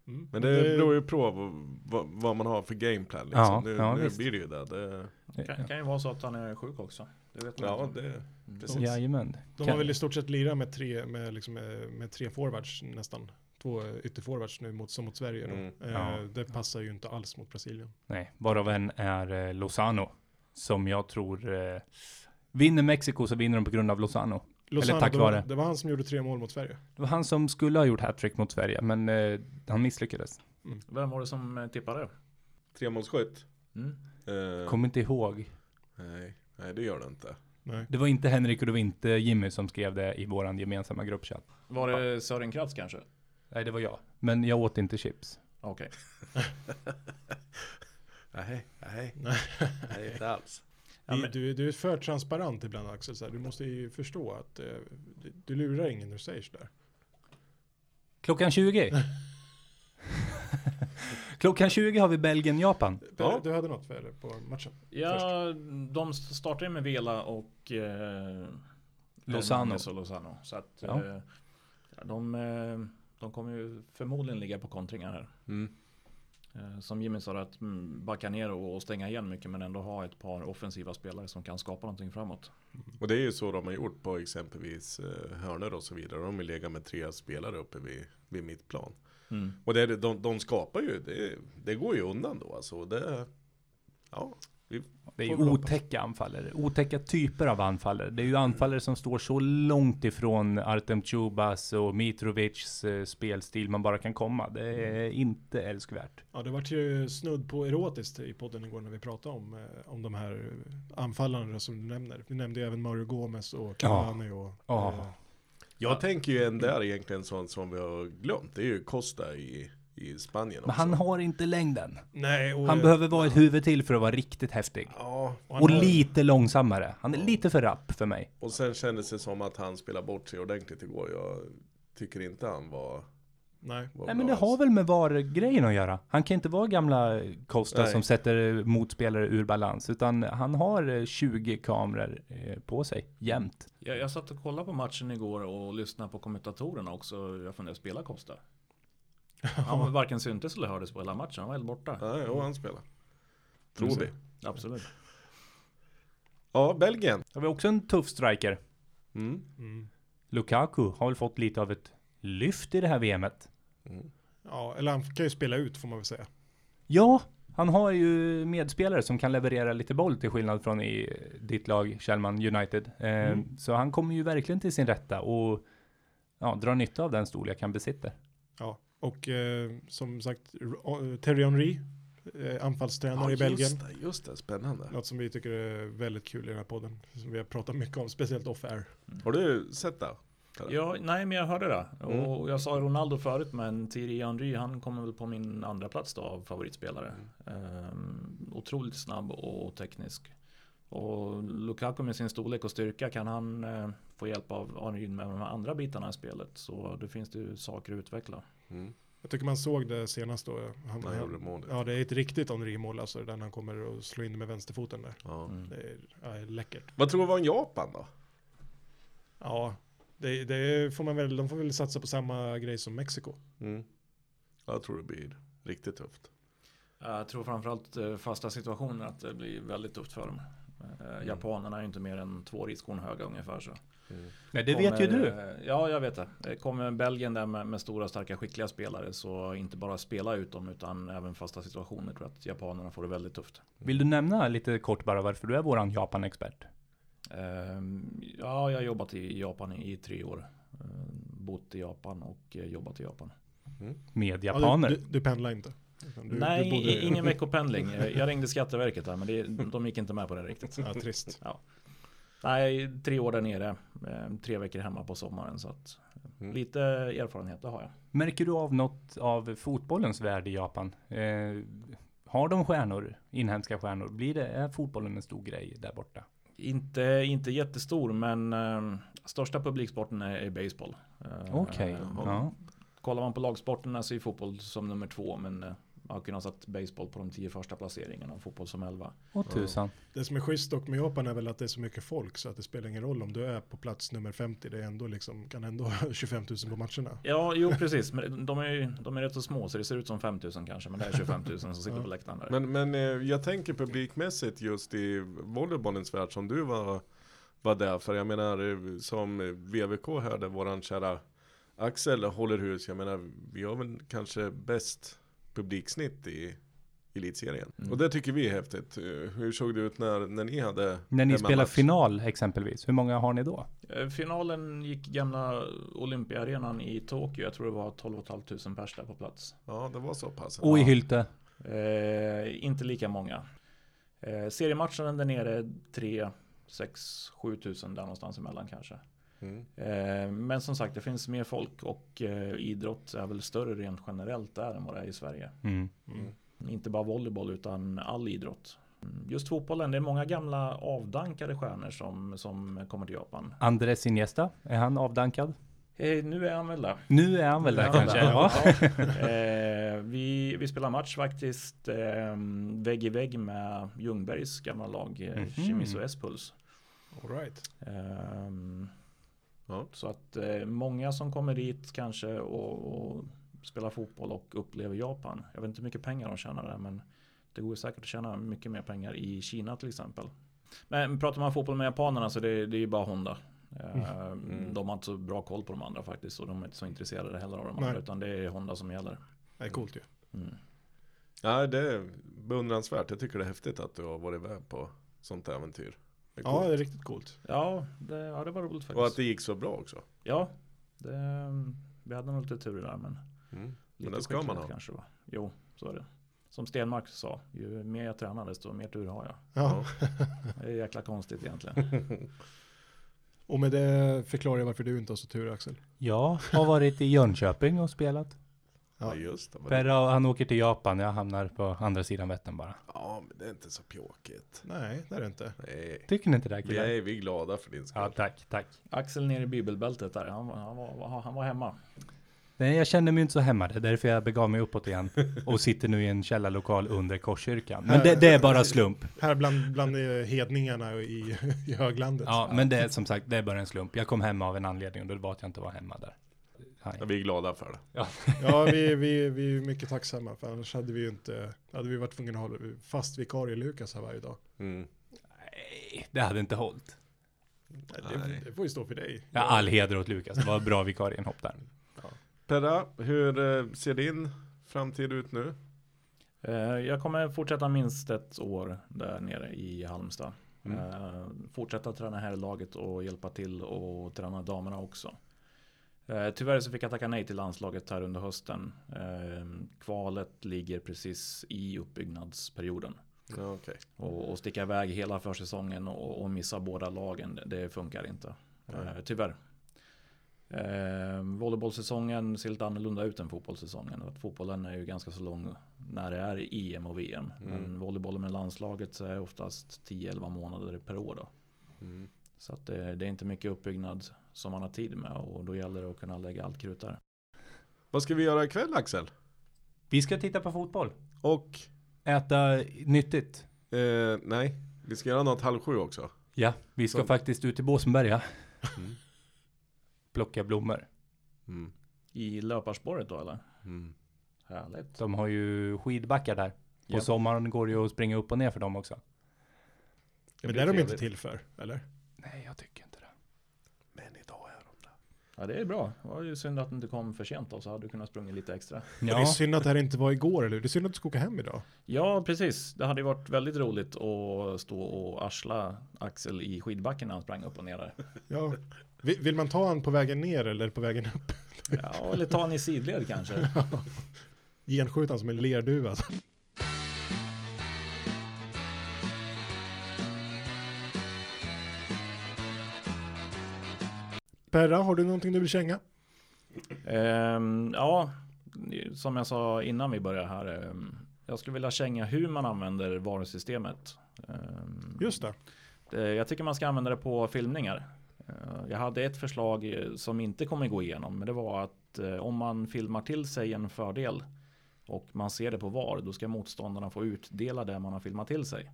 [SPEAKER 4] Mm.
[SPEAKER 5] men det beror ju på vad- vad, vad man har för gameplan liksom.
[SPEAKER 1] Ja,
[SPEAKER 5] nu
[SPEAKER 1] ja,
[SPEAKER 5] nu
[SPEAKER 1] visst.
[SPEAKER 5] blir det ju det. det
[SPEAKER 6] Kan, kan ju vara så att han är sjuk också. Det vet man
[SPEAKER 5] ja,
[SPEAKER 6] inte.
[SPEAKER 5] det, precis.
[SPEAKER 1] Jajamän.
[SPEAKER 4] De har
[SPEAKER 1] Kan-
[SPEAKER 4] väl i stort sett lirat med tre, med, liksom, eh, med tre forwards nästan. Två eh, ytterforwards nu mot, som mot Sverige. Då.
[SPEAKER 5] Mm.
[SPEAKER 4] Eh,
[SPEAKER 1] Ja.
[SPEAKER 4] Det passar ju inte alls mot Brasilien.
[SPEAKER 1] Nej, varav en är eh, Lozano. Som jag tror eh, vinner Mexiko så vinner de på grund av Lozano.
[SPEAKER 4] Lozano,
[SPEAKER 1] tack
[SPEAKER 4] det, var,
[SPEAKER 1] vare.
[SPEAKER 4] det var han som gjorde tre mål mot Sverige.
[SPEAKER 1] Det var han som skulle ha gjort hattrick mot Sverige, men eh, han misslyckades.
[SPEAKER 6] Vem var det som eh, tippade?
[SPEAKER 5] Tremålsskytt.
[SPEAKER 6] Mm.
[SPEAKER 5] Eh,
[SPEAKER 1] Kommer inte ihåg.
[SPEAKER 5] nej, nej, det gör det inte.
[SPEAKER 4] Nej.
[SPEAKER 1] Det var inte Henrik och det var inte Jimmy som skrev det i våran gemensamma gruppchatt.
[SPEAKER 6] Var det Sören Kratz kanske?
[SPEAKER 1] Nej, det var jag. Men jag åt inte chips.
[SPEAKER 6] Okej.
[SPEAKER 5] Nej, nej, nej, inte alls.
[SPEAKER 6] Ja,
[SPEAKER 4] Vi-
[SPEAKER 6] men-
[SPEAKER 4] du, du är för transparent ibland Axel. Så här. Du måste ju förstå att eh, du, du lurar ingen när du säger sådär.
[SPEAKER 1] Klockan 20. Klockan 20 har vi Belgien-Japan.
[SPEAKER 4] Per,
[SPEAKER 5] Ja.
[SPEAKER 4] Du hade något för på matchen?
[SPEAKER 6] Ja, de startar ju med Vela och eh,
[SPEAKER 1] Lozano.
[SPEAKER 6] Hernandez Och Lozano. Så att
[SPEAKER 1] Ja.
[SPEAKER 6] eh, ja, de, eh, de kommer ju förmodligen ligga på kontringar här.
[SPEAKER 5] Mm.
[SPEAKER 6] Eh, som Jimmy sa, att mm, backa ner och och stänga igen mycket men ändå ha ett par offensiva spelare som kan skapa någonting framåt.
[SPEAKER 5] Och det är ju så de har gjort på exempelvis eh, hörnor och så vidare. De vill lägga med tre spelare uppe vid, vid mittplan.
[SPEAKER 6] Mm.
[SPEAKER 5] Och det, är- de, de skapar ju, det, det går ju undan då alltså. Det, ja, vi,
[SPEAKER 1] Det är ju otäcka anfallare, otäcka typer av anfallare. Det är ju anfallare som står så långt ifrån Artem Chubas och Mitrovics eh, spelstil man bara kan komma. Det är inte älskvärt.
[SPEAKER 4] Ja, det vart ju snudd på erotiskt i podden igår när vi pratade om, eh, om de här eh, anfallarna som du nämner. Vi nämnde ju även Mario Gomez och Cavani och...
[SPEAKER 1] Ja.
[SPEAKER 4] eh,
[SPEAKER 5] jag tänker ju en där egentligen som, som vi har glömt. Det är ju Costa i, i Spanien också.
[SPEAKER 1] Men han har inte längden.
[SPEAKER 4] nej, och,
[SPEAKER 1] Han behöver vara ett huvud till för att vara riktigt häftig.
[SPEAKER 5] Ja,
[SPEAKER 4] och han
[SPEAKER 1] Och
[SPEAKER 4] har-
[SPEAKER 1] lite långsammare. Han är lite för rapp för mig.
[SPEAKER 5] och sen kändes det som att han spelade bort sig ordentligt igår. Jag tycker inte han var,
[SPEAKER 4] Nej.
[SPEAKER 5] var
[SPEAKER 1] Nej men det
[SPEAKER 5] bra
[SPEAKER 1] har väl med VAR-grejen att göra. Han kan inte vara gamla Costa
[SPEAKER 5] Nej.
[SPEAKER 1] som sätter eh, motspelare ur balans. Utan han har eh, 20 kameror eh, på sig jämt.
[SPEAKER 6] Jag, jag satt och kollade på matchen igår och lyssnade på kommentatorerna också. Jag funderade, spela Costa? Han var varken syntes eller hördes på hela matchen. Han var helt borta.
[SPEAKER 5] alltså. Nej, jo, han spelar. Tror vi.
[SPEAKER 6] Absolut.
[SPEAKER 5] Ja, Belgien.
[SPEAKER 1] Det var också en tuff striker.
[SPEAKER 5] Mm.
[SPEAKER 1] Lukaku har väl fått lite av ett lyft i det här VMet.
[SPEAKER 4] Ja, eller han kan ju spela ut får man väl säga.
[SPEAKER 1] Ja, han har ju medspelare som kan leverera lite boll till skillnad från i ditt lag Kjellman United. Eh, Så han kommer ju verkligen till sin rätta och ja, drar nytta av den storlek han besitter.
[SPEAKER 4] Ja, och eh, som sagt, R- eh, Terry Henry, eh, anfallstränare i Belgien.
[SPEAKER 5] Just det, just det, spännande.
[SPEAKER 4] Något som vi tycker är väldigt kul i den här podden, som vi har pratat mycket om, speciellt off-air.
[SPEAKER 5] Har du sett det?
[SPEAKER 6] Ja, nej, men jag hörde det. Och jag sa Ronaldo förut, men Thierry Henry, han kommer väl på min andra plats då av favoritspelare. Ehm, otroligt snabb och teknisk. Och Lukaku med sin storlek och styrka, kan han eh, få hjälp av Henry med de här andra bitarna i spelet så det finns det ju saker att utveckla.
[SPEAKER 4] Jag tycker man såg det senast då. eh, Han,
[SPEAKER 5] Han gjorde målet.
[SPEAKER 4] Ja, det är ett riktigt Henri-mål alltså. Den han kommer och slå in med vänsterfoten där.
[SPEAKER 5] Ja.
[SPEAKER 6] Mm.
[SPEAKER 4] Det är, ja, det är läckert.
[SPEAKER 5] Vad tror du om Japan då?
[SPEAKER 4] Ja, det, det får man väl, de får väl satsa på samma grej som Mexiko.
[SPEAKER 5] Mm. Jag tror det blir riktigt tufft.
[SPEAKER 6] Jag tror framförallt eh, fasta situationer att det blir väldigt tufft för dem. Eh,
[SPEAKER 1] Mm.
[SPEAKER 6] Japanerna är ju inte mer än två riskorn höga ungefär så.
[SPEAKER 1] Nej, det vet ju
[SPEAKER 6] Kommer,
[SPEAKER 1] du.
[SPEAKER 6] eh, Ja, jag vet det. Eh, Kommer Belgien där med, med stora, starka, skickliga spelare så inte bara spela ut dem utan även fasta situationer. Jag tror att japanerna får det väldigt tufft.
[SPEAKER 1] Vill du nämna lite kort bara varför du är våran Japan-expert?
[SPEAKER 6] Ehm, Ja, jag har jobbat i Japan i i tre år. Ehm, Bott i Japan och eh, jobbat i Japan.
[SPEAKER 1] Med
[SPEAKER 4] Ja,
[SPEAKER 1] japaner.
[SPEAKER 4] Du, du, du pendlar inte. Utan Du,
[SPEAKER 6] Nej,
[SPEAKER 4] du bodde-
[SPEAKER 6] i- ingen veckopendling. Eh, Jag ringde Skatteverket där, men det, de gick inte med på det riktigt.
[SPEAKER 4] Ja, trist.
[SPEAKER 6] Nej, tre år där nere. eh, Tre veckor hemma på sommaren. Så att
[SPEAKER 5] Mm.
[SPEAKER 6] lite erfarenhet, det har jag.
[SPEAKER 1] Märker du av något av fotbollens värld i Japan? Eh, har de stjärnor, inhemska stjärnor? Blir det, är fotbollen en stor grej där borta?
[SPEAKER 6] Inte, inte jättestor, men eh, största publiksporten är, är baseball. Eh,
[SPEAKER 1] Okej, ja.
[SPEAKER 6] Kollar man på lagsporterna så är fotboll som nummer två, men eh, man har kunnat satt baseball på de tio första placeringarna och fotboll som elva.
[SPEAKER 1] Och tusan.
[SPEAKER 4] Det som är schysst dock med Japan är väl att det är så mycket folk så att det spelar ingen roll om du är på plats nummer 50. Det är ändå liksom, kan ändå ha 25 000 på matcherna.
[SPEAKER 6] Ja, jo precis, men de är, ju, de är rätt så små så det ser ut som 5 000 kanske, men det är 25 000 som sitter på läktaren där.
[SPEAKER 5] Men, men eh, jag tänker publikmässigt just i volleybollens värld som du var, var där. För jag menar eh, som eh, VVK hörde våran kära Axel håller hus. Jag menar vi har väl kanske bäst publiksnitt i elitserien.
[SPEAKER 1] Mm.
[SPEAKER 5] Och det tycker vi är häftigt. Eh, Hur såg det ut när, när ni hade
[SPEAKER 1] När ni
[SPEAKER 5] hemmamatch?
[SPEAKER 1] spelar final exempelvis, hur många har ni då?
[SPEAKER 6] Eh, Finalen gick gamla Olympiaarenan i Tokyo, jag tror det var 12 500 pers där på plats.
[SPEAKER 5] Ja det var så pass.
[SPEAKER 1] Och i Hylte.
[SPEAKER 6] Eh, inte lika många. Eh, seriematchen där nere 3, 6, 7 tusen där någonstans emellan kanske.
[SPEAKER 5] Mm.
[SPEAKER 6] Eh, men som sagt, det finns mer folk och eh, idrott är väl större rent generellt där än vad det är i Sverige.
[SPEAKER 1] Mm.
[SPEAKER 6] Inte bara volleyboll utan all idrott. Mm, Just fotbollen, det är många gamla avdankade stjärnor som, som kommer till Japan.
[SPEAKER 1] Andres Iniesta, är han avdankad?
[SPEAKER 6] Eh, nu är han väl där.
[SPEAKER 1] Nu är han väl där
[SPEAKER 6] Ja,
[SPEAKER 1] kanske?
[SPEAKER 6] där.
[SPEAKER 1] Ja.
[SPEAKER 6] Eh, vi, vi spelar match faktiskt eh, vägg i vägg med Ljungbergs gamla lag eh,
[SPEAKER 1] Mhm.
[SPEAKER 6] Kimis och S-Puls.
[SPEAKER 4] All right.
[SPEAKER 6] Ehm,
[SPEAKER 5] Ja.
[SPEAKER 6] Så att eh, många som kommer dit kanske och, och spelar fotboll och upplever Japan. Jag vet inte hur mycket pengar de tjänar där men det går ju säkert att tjäna mycket mer pengar i Kina till exempel. Men pratar man fotboll med japanerna så det, det är ju bara Honda. Ehm,
[SPEAKER 5] Mm.
[SPEAKER 6] De har inte så bra koll på de andra faktiskt och de är inte så intresserade heller av de
[SPEAKER 4] Nej.
[SPEAKER 6] andra utan det är Honda som gäller. Mm.
[SPEAKER 4] Det är coolt ju.
[SPEAKER 5] Ja, det är beundransvärt. Jag tycker det är häftigt att du har varit med på sånt äventyr. Det är
[SPEAKER 4] Ja,
[SPEAKER 5] coolt.
[SPEAKER 4] det är riktigt coolt.
[SPEAKER 6] Ja, det, ja, det var roligt
[SPEAKER 5] Och att
[SPEAKER 6] faktiskt.
[SPEAKER 5] det gick så bra också.
[SPEAKER 6] Ja, det, ehm, vi hade nog lite tur där men.
[SPEAKER 5] Mm. Men
[SPEAKER 6] Lite
[SPEAKER 5] det ska man
[SPEAKER 6] skicklighet
[SPEAKER 5] ha.
[SPEAKER 6] kanske va? Jo, så är det. Som Stenmark sa, ju mer jag tränar desto mer tur har jag.
[SPEAKER 4] Ja.
[SPEAKER 6] Det är jäkla konstigt egentligen.
[SPEAKER 4] Och med det förklarar jag varför du inte har så tur Axel.
[SPEAKER 1] Jag har varit i Jönköping och spelat.
[SPEAKER 4] Ja.
[SPEAKER 5] Ja, just det. Men det-
[SPEAKER 1] Per, han åker till Japan, jag hamnar på andra sidan Vättern bara.
[SPEAKER 5] Ja, men det är inte så pjåkigt.
[SPEAKER 4] Nej, det är det inte.
[SPEAKER 5] Nej,
[SPEAKER 1] Tycker ni inte det här,
[SPEAKER 5] vi
[SPEAKER 1] killar?
[SPEAKER 5] är, vi är glada för din skull.
[SPEAKER 1] Ja, tack, tack.
[SPEAKER 6] Axel nere i bibelbältet där, han, var- han, var, han var hemma.
[SPEAKER 1] Nej, jag känner mig inte så hemma. Det är därför jag begav mig uppåt igen och sitter nu i en källarlokal under Korskyrkan. Men det, det är bara slump.
[SPEAKER 4] Här bland, bland eh, hedningarna i, i höglandet.
[SPEAKER 1] Ja, men det är som sagt, det är bara en slump. Jag kom hem av en anledning och det var att jag inte var hemma där. Nej.
[SPEAKER 5] Ja, Vi är glada för det.
[SPEAKER 4] Ja, vi, vi, vi är mycket tacksamma för annars hade vi ju inte, hade vi varit tvungna att hålla fast vikarie Lukas här varje dag.
[SPEAKER 5] Mm.
[SPEAKER 1] Nej, det hade inte hållit.
[SPEAKER 4] Det, det får ju stå för dig.
[SPEAKER 1] Ja, all heder åt Lukas, det var bra vikarienhopp där.
[SPEAKER 5] Perra, hur eh, ser din framtid ut nu?
[SPEAKER 6] Eh, Jag kommer fortsätta minst ett år där nere i Halmstad.
[SPEAKER 5] Mm.
[SPEAKER 6] Eh, Fortsätta träna här i laget och hjälpa till och träna damerna också. Eh, Tyvärr så fick jag tacka nej till landslaget här under hösten. Eh, Kvalet ligger precis i uppbyggnadsperioden.
[SPEAKER 5] Ja, okej.
[SPEAKER 6] Och, och sticka iväg hela försäsongen och, och missa båda lagen, det- det funkar inte. Eh, tyvärr. Eh, volleybollsäsongen ser lite annorlunda ut än fotbollssäsongen. Att fotbollen är ju ganska så lång när det är EM och VM. Men volleybollen med landslaget så är oftast 10-11 månader per år. Då.
[SPEAKER 5] Mm.
[SPEAKER 6] Så att det, det är inte mycket uppbyggnad som man har tid med och då gäller det att kunna lägga allt krut där.
[SPEAKER 5] Vad ska vi göra ikväll Axel?
[SPEAKER 1] Vi ska titta på fotboll.
[SPEAKER 5] Och?
[SPEAKER 1] Äta nyttigt.
[SPEAKER 5] Eh, nej, vi ska göra något halv sju också.
[SPEAKER 1] Ja, vi ska
[SPEAKER 5] Så-
[SPEAKER 1] faktiskt ut till Båsenberga.
[SPEAKER 5] Mm.
[SPEAKER 1] Plocka blommor.
[SPEAKER 5] Mm.
[SPEAKER 6] I löparspåret då eller?
[SPEAKER 5] Mm.
[SPEAKER 6] Härligt.
[SPEAKER 1] De har ju skidbackar där. På
[SPEAKER 6] Ja.
[SPEAKER 1] sommaren går det ju att springa upp och ner för dem också.
[SPEAKER 5] Det
[SPEAKER 4] Men det
[SPEAKER 5] blir
[SPEAKER 4] är de inte
[SPEAKER 5] trevligt.
[SPEAKER 4] till för, eller?
[SPEAKER 1] Nej, jag tycker inte det.
[SPEAKER 5] Men idag är de där.
[SPEAKER 6] Ja det är bra. Det var ju synd att du inte kom för sent då så hade du kunnat sprungit lite extra.
[SPEAKER 4] Och Det är
[SPEAKER 1] Ja,
[SPEAKER 4] synd att det här inte var igår, eller hur? Det är synd att du ska åka hem idag.
[SPEAKER 6] Ja precis. Det hade ju varit väldigt roligt att stå och arsla Axel i skidbacken när han sprang upp och ner där.
[SPEAKER 4] Ja. Vi- Vill man ta han på vägen ner eller på vägen upp?
[SPEAKER 6] Ja, eller ta han i sidled kanske.
[SPEAKER 4] Genskjuta han som en lerduva. alltså. Perra, har du någonting du vill känga?
[SPEAKER 6] Ehm, ja, som jag sa innan vi började här. ehm, jag skulle vilja känga hur man använder varusystemet. Ehm,
[SPEAKER 4] Just det.
[SPEAKER 6] det- jag tycker man ska använda det på filmningar. Eh, jag hade ett förslag eh, som inte kommer gå igenom, men det var att eh, om man filmar till sig en fördel och man ser det på VAR, då ska motståndarna få utdela det man har filmat till sig.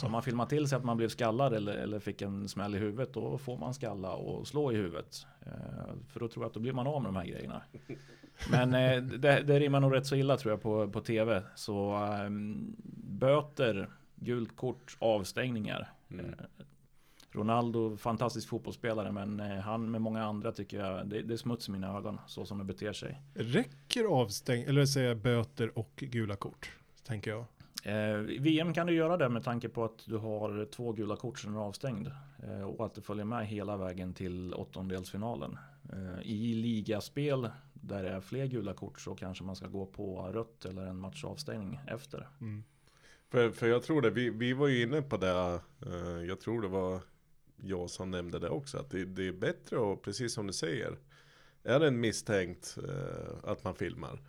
[SPEAKER 6] Så om man filmar till sig att man blev skallad eller, eller fick en smäll i huvudet, då får man skalla och slå i huvudet. Eh, för då tror jag att då blir man av med de här grejerna. Men eh, det, det rimmar nog rätt så illa tror jag på, på tv. Så eh, böter, gult kort, avstängningar.
[SPEAKER 5] Mm.
[SPEAKER 6] Eh, Ronaldo, fantastisk fotbollsspelare, men eh, han med många andra tycker jag, det, det är smuts i mina ögon, så som det beter sig.
[SPEAKER 4] Räcker avstäng, eller säga böter och gula kort, tänker jag.
[SPEAKER 6] Eh, i VM kan du göra det med tanke på att du har två gula kort som är avstängd. Eh, och att det följer med hela vägen till åttondelsfinalen. Eh, I ligaspel där det är fler gula kort så kanske man ska gå på rött eller en matchavstängning efter.
[SPEAKER 5] För, för jag tror det, vi, vi var ju inne på det, eh, jag tror det var jag som nämnde det också, att det, det är bättre att, precis som du säger, är det en misstänkt eh, att man filmar,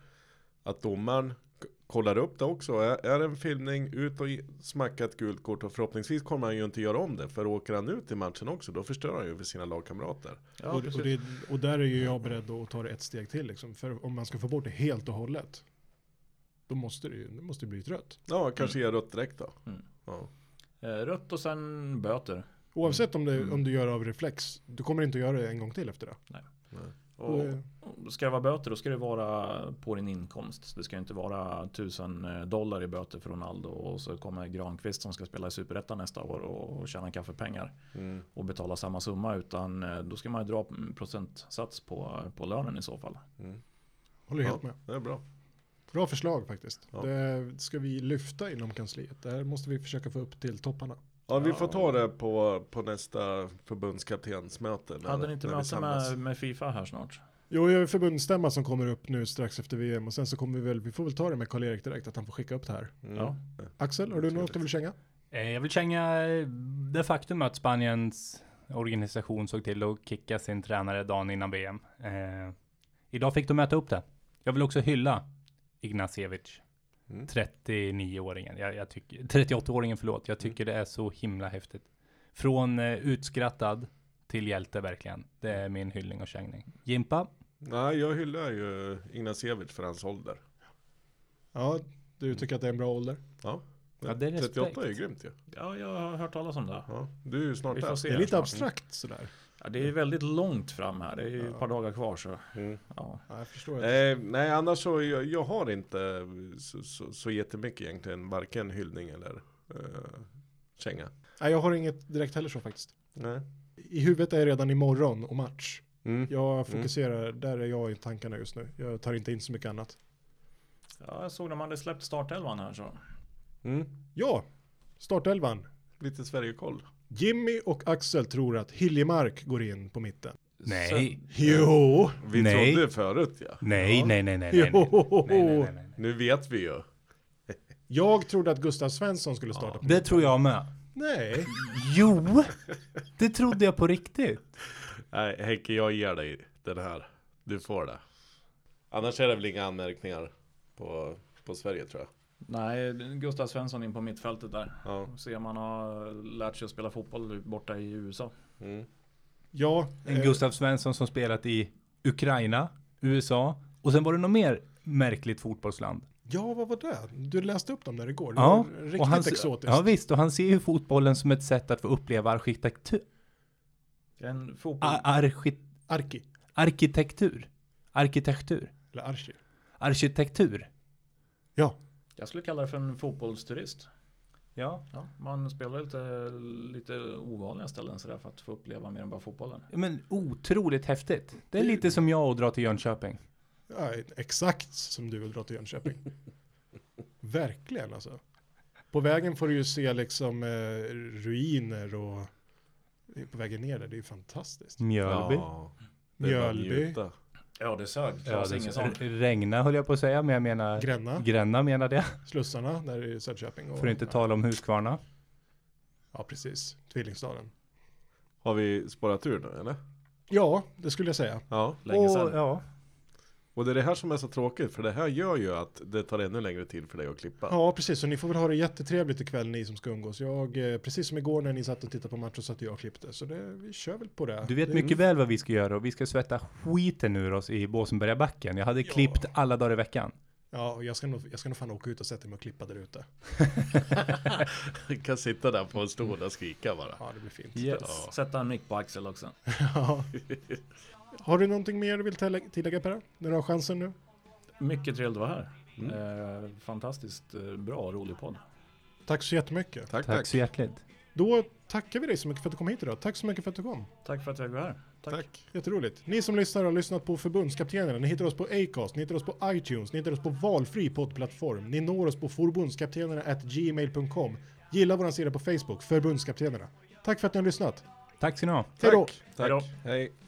[SPEAKER 5] att domaren k- kollar upp det också. Är, är det en filmning, ut och ge- smacka ett gult kort och förhoppningsvis kommer han ju inte göra om det, för åker han ut i matchen också, då förstör han ju för sina lagkamrater.
[SPEAKER 6] Ja,
[SPEAKER 4] och, och, det, och där är ju jag beredd att ta det ett steg till. Liksom. För om man ska få bort det helt och hållet, då måste det ju det måste bli ett rött.
[SPEAKER 5] Ja, kanske ge rött direkt då.
[SPEAKER 6] Mm.
[SPEAKER 5] Ja.
[SPEAKER 6] Eh, rött och sen böter.
[SPEAKER 4] Oavsett om du, om du gör av reflex, du kommer inte att göra det en gång till efter det.
[SPEAKER 6] Och
[SPEAKER 4] Eh,
[SPEAKER 6] och ska det vara böter då ska det vara på din inkomst. Så Det ska inte vara 1000 dollar i böter för Ronaldo och så kommer Granqvist som ska spela i Superettan nästa år och och tjäna kaffepengar.
[SPEAKER 5] Mm.
[SPEAKER 6] och betala samma summa utan eh, då ska man ju dra en procentsats på, på lönen i så fall.
[SPEAKER 4] håller helt
[SPEAKER 5] Ja,
[SPEAKER 4] med.
[SPEAKER 5] det är bra.
[SPEAKER 4] Bra förslag faktiskt.
[SPEAKER 5] Ja.
[SPEAKER 4] Det ska vi lyfta inom kansliet. Det här måste vi försöka få upp till topparna.
[SPEAKER 5] Ja, vi får ta det på, på nästa förbundskaptensmöte. när-
[SPEAKER 6] Hade ni inte
[SPEAKER 5] när vi
[SPEAKER 6] möte
[SPEAKER 5] samlas.
[SPEAKER 6] med, med Fifa här snart?
[SPEAKER 4] Jo, jag är förbundsstämma som kommer upp nu strax efter VM och sen så kommer vi väl, vi får väl ta det med Karl-Erik direkt att han får skicka upp det här.
[SPEAKER 5] Mm.
[SPEAKER 6] Ja.
[SPEAKER 4] Axel, har du något du vill känga?
[SPEAKER 1] eh, jag vill känga eh, det faktum att Spaniens organisation såg till att kicka sin tränare dagen innan VM. Eh, idag fick de möta upp det. Jag vill också hylla Ignacevic.
[SPEAKER 5] Mm.
[SPEAKER 1] 39-åringen, jag, jag tycker, 38-åringen förlåt, jag tycker det är så himla häftigt. Från eh, utskrattad till hjälte verkligen. Det är min hyllning och kängning. Jimpa,
[SPEAKER 5] Nej, jag hyllar ju Ignacevic för hans ålder.
[SPEAKER 4] Ja, du tycker att det är en bra ålder?
[SPEAKER 1] Ja, det är respekt.
[SPEAKER 5] 38 är ju grymt ju.
[SPEAKER 6] Ja, jag har hört talas om det.
[SPEAKER 5] Ja, du är ju snart
[SPEAKER 6] Vi får
[SPEAKER 5] där.
[SPEAKER 6] se.
[SPEAKER 4] Det är lite
[SPEAKER 6] snart.
[SPEAKER 4] abstrakt sådär.
[SPEAKER 6] Ja, det är ju väldigt långt fram här. Det är ju ett par dagar kvar så.
[SPEAKER 5] Mm.
[SPEAKER 6] Ja.
[SPEAKER 4] Ja, jag förstår. det.
[SPEAKER 5] Eh, nej, annars så jag, jag har inte så, så, så jättemycket egentligen, varken hyllning eller eh, känga.
[SPEAKER 4] Nej, jag har inget direkt heller så faktiskt.
[SPEAKER 5] Nej.
[SPEAKER 4] I huvudet är jag redan imorgon och match.
[SPEAKER 5] Mm.
[SPEAKER 4] Jag fokuserar, där är jag i tankarna just nu. Jag tar inte in så mycket annat.
[SPEAKER 6] ja, jag såg när man hade släppt startelvan här så.
[SPEAKER 5] Mm.
[SPEAKER 4] Ja, startelvan.
[SPEAKER 5] Lite Sverigekoll.
[SPEAKER 4] Jimmy och Axel tror att Hiljemark går in på mitten.
[SPEAKER 1] nej,
[SPEAKER 4] Jo!
[SPEAKER 5] Vi
[SPEAKER 1] Nej.
[SPEAKER 5] trodde förut ja.
[SPEAKER 1] nej, nej, nej, nej, nej, nej,
[SPEAKER 4] Jo!
[SPEAKER 1] nej, nej, nej, nej.
[SPEAKER 5] Nu vet vi ju.
[SPEAKER 4] Jag trodde att Gustav Svensson skulle starta. på
[SPEAKER 1] Det tror jag med.
[SPEAKER 4] Nej,
[SPEAKER 1] Jo, det trodde jag på riktigt.
[SPEAKER 5] Nej, Henke, jag ger dig den här. Du får det. Annars är det väl inga anmärkningar på, på Sverige tror jag.
[SPEAKER 6] Nej, Gustav Svensson in på mittfältet där.
[SPEAKER 5] Ja.
[SPEAKER 6] Se om han har lärt sig att spela fotboll borta i USA.
[SPEAKER 5] Mm.
[SPEAKER 4] ja.
[SPEAKER 1] En
[SPEAKER 4] eh,
[SPEAKER 1] Gustav Svensson som spelat i Ukraina, USA och Och sen var det något mer märkligt fotbollsland.
[SPEAKER 4] Ja, vad var det? Du läste upp dem där igår. Det
[SPEAKER 1] Ja,
[SPEAKER 4] var riktigt
[SPEAKER 1] och han,
[SPEAKER 4] exotiskt.
[SPEAKER 1] ja visst, och han ser ju fotbollen som ett sätt att få uppleva arkitektur.
[SPEAKER 6] En fotboll.
[SPEAKER 1] a- Arki,
[SPEAKER 4] Arki,
[SPEAKER 1] arkitektur. Arkitektur.
[SPEAKER 4] eller Archi.
[SPEAKER 1] Arkitektur.
[SPEAKER 4] Ja,
[SPEAKER 6] Jag skulle kalla det för en fotbollsturist.
[SPEAKER 1] Ja.
[SPEAKER 6] Ja, man spelar lite, lite ovanliga ställen sådär för att få uppleva mer än bara fotbollen.
[SPEAKER 1] Men otroligt häftigt. Det är lite som jag att dra till Jönköping.
[SPEAKER 4] ja, exakt som du vill dra till Jönköping. Verkligen alltså. På vägen får du ju se liksom eh, ruiner och på vägen ner där, det är ju
[SPEAKER 1] Mm.
[SPEAKER 4] fantastiskt.
[SPEAKER 1] Mjölby.
[SPEAKER 5] Ja, det är bara att
[SPEAKER 4] Mjölby.
[SPEAKER 5] njuta.
[SPEAKER 6] Ödeshög,
[SPEAKER 1] Ja,
[SPEAKER 6] Claes
[SPEAKER 1] det-
[SPEAKER 6] Ingesson.
[SPEAKER 1] R- Regna höll jag på att säga, men jag menar
[SPEAKER 4] Gränna,
[SPEAKER 1] Gränna menade jag.
[SPEAKER 4] Slussarna där i Söderköping. Och,
[SPEAKER 1] För att inte tala om Huskvarna.
[SPEAKER 4] Ja, precis. Tvillingstaden.
[SPEAKER 5] Har vi sparat ur nu eller?
[SPEAKER 4] Ja, det skulle jag säga.
[SPEAKER 5] Ja.
[SPEAKER 6] Länge
[SPEAKER 1] Och,
[SPEAKER 6] sedan.
[SPEAKER 1] ja.
[SPEAKER 5] Och det är det här som är så tråkigt för det här gör ju att det tar ännu längre tid för dig att klippa.
[SPEAKER 4] Ja, precis. Så ni får väl ha det jättetrevligt ikväll ni som ska umgås. Jag, eh, precis som igår när ni satt och tittade på matchen så att jag och klippte. Så det, vi kör väl på det.
[SPEAKER 1] Du vet
[SPEAKER 4] det,
[SPEAKER 1] mycket väl vad vi ska göra och vi ska svätta skiten ur oss i Båsenbergabacken. Jag hade
[SPEAKER 4] Ja.
[SPEAKER 1] klippt alla dagar i veckan.
[SPEAKER 4] Ja, och jag ska, nog, jag ska nog fan åka ut och sätta mig och klippa där ute.
[SPEAKER 5] Du kan sitta där på en stol och skrika bara.
[SPEAKER 4] Ja, det blir fint.
[SPEAKER 5] Ja.
[SPEAKER 6] Sätta en mick på Axel också.
[SPEAKER 4] Ja. Har du någonting mer du vill tillägga, tillägga Per? När du har chansen nu?
[SPEAKER 6] Mycket trevligt att vara här. Eh, fantastiskt eh, bra och rolig podd.
[SPEAKER 4] Tack så jättemycket.
[SPEAKER 5] Tack,
[SPEAKER 1] Tack
[SPEAKER 5] tack.
[SPEAKER 1] så hjärtligt.
[SPEAKER 4] Då tackar vi dig så mycket för att du kom hit idag. Tack så mycket för att du kom.
[SPEAKER 6] Tack för att jag var här. Tack.
[SPEAKER 4] Jätteroligt. Ni som lyssnar har lyssnat på förbundskaptenerna. Ni hittar oss på Acast, ni hittar oss på iTunes, ni hittar oss på valfri poddplattform. Ni når oss på förbundskaptenerna@gmail.com. Gilla vår sida på Facebook, förbundskaptenerna. Tack för att ni har lyssnat.
[SPEAKER 1] Tack ska ni ha.
[SPEAKER 4] Hej då!
[SPEAKER 5] Tack.
[SPEAKER 6] Hejdå.
[SPEAKER 5] Hej.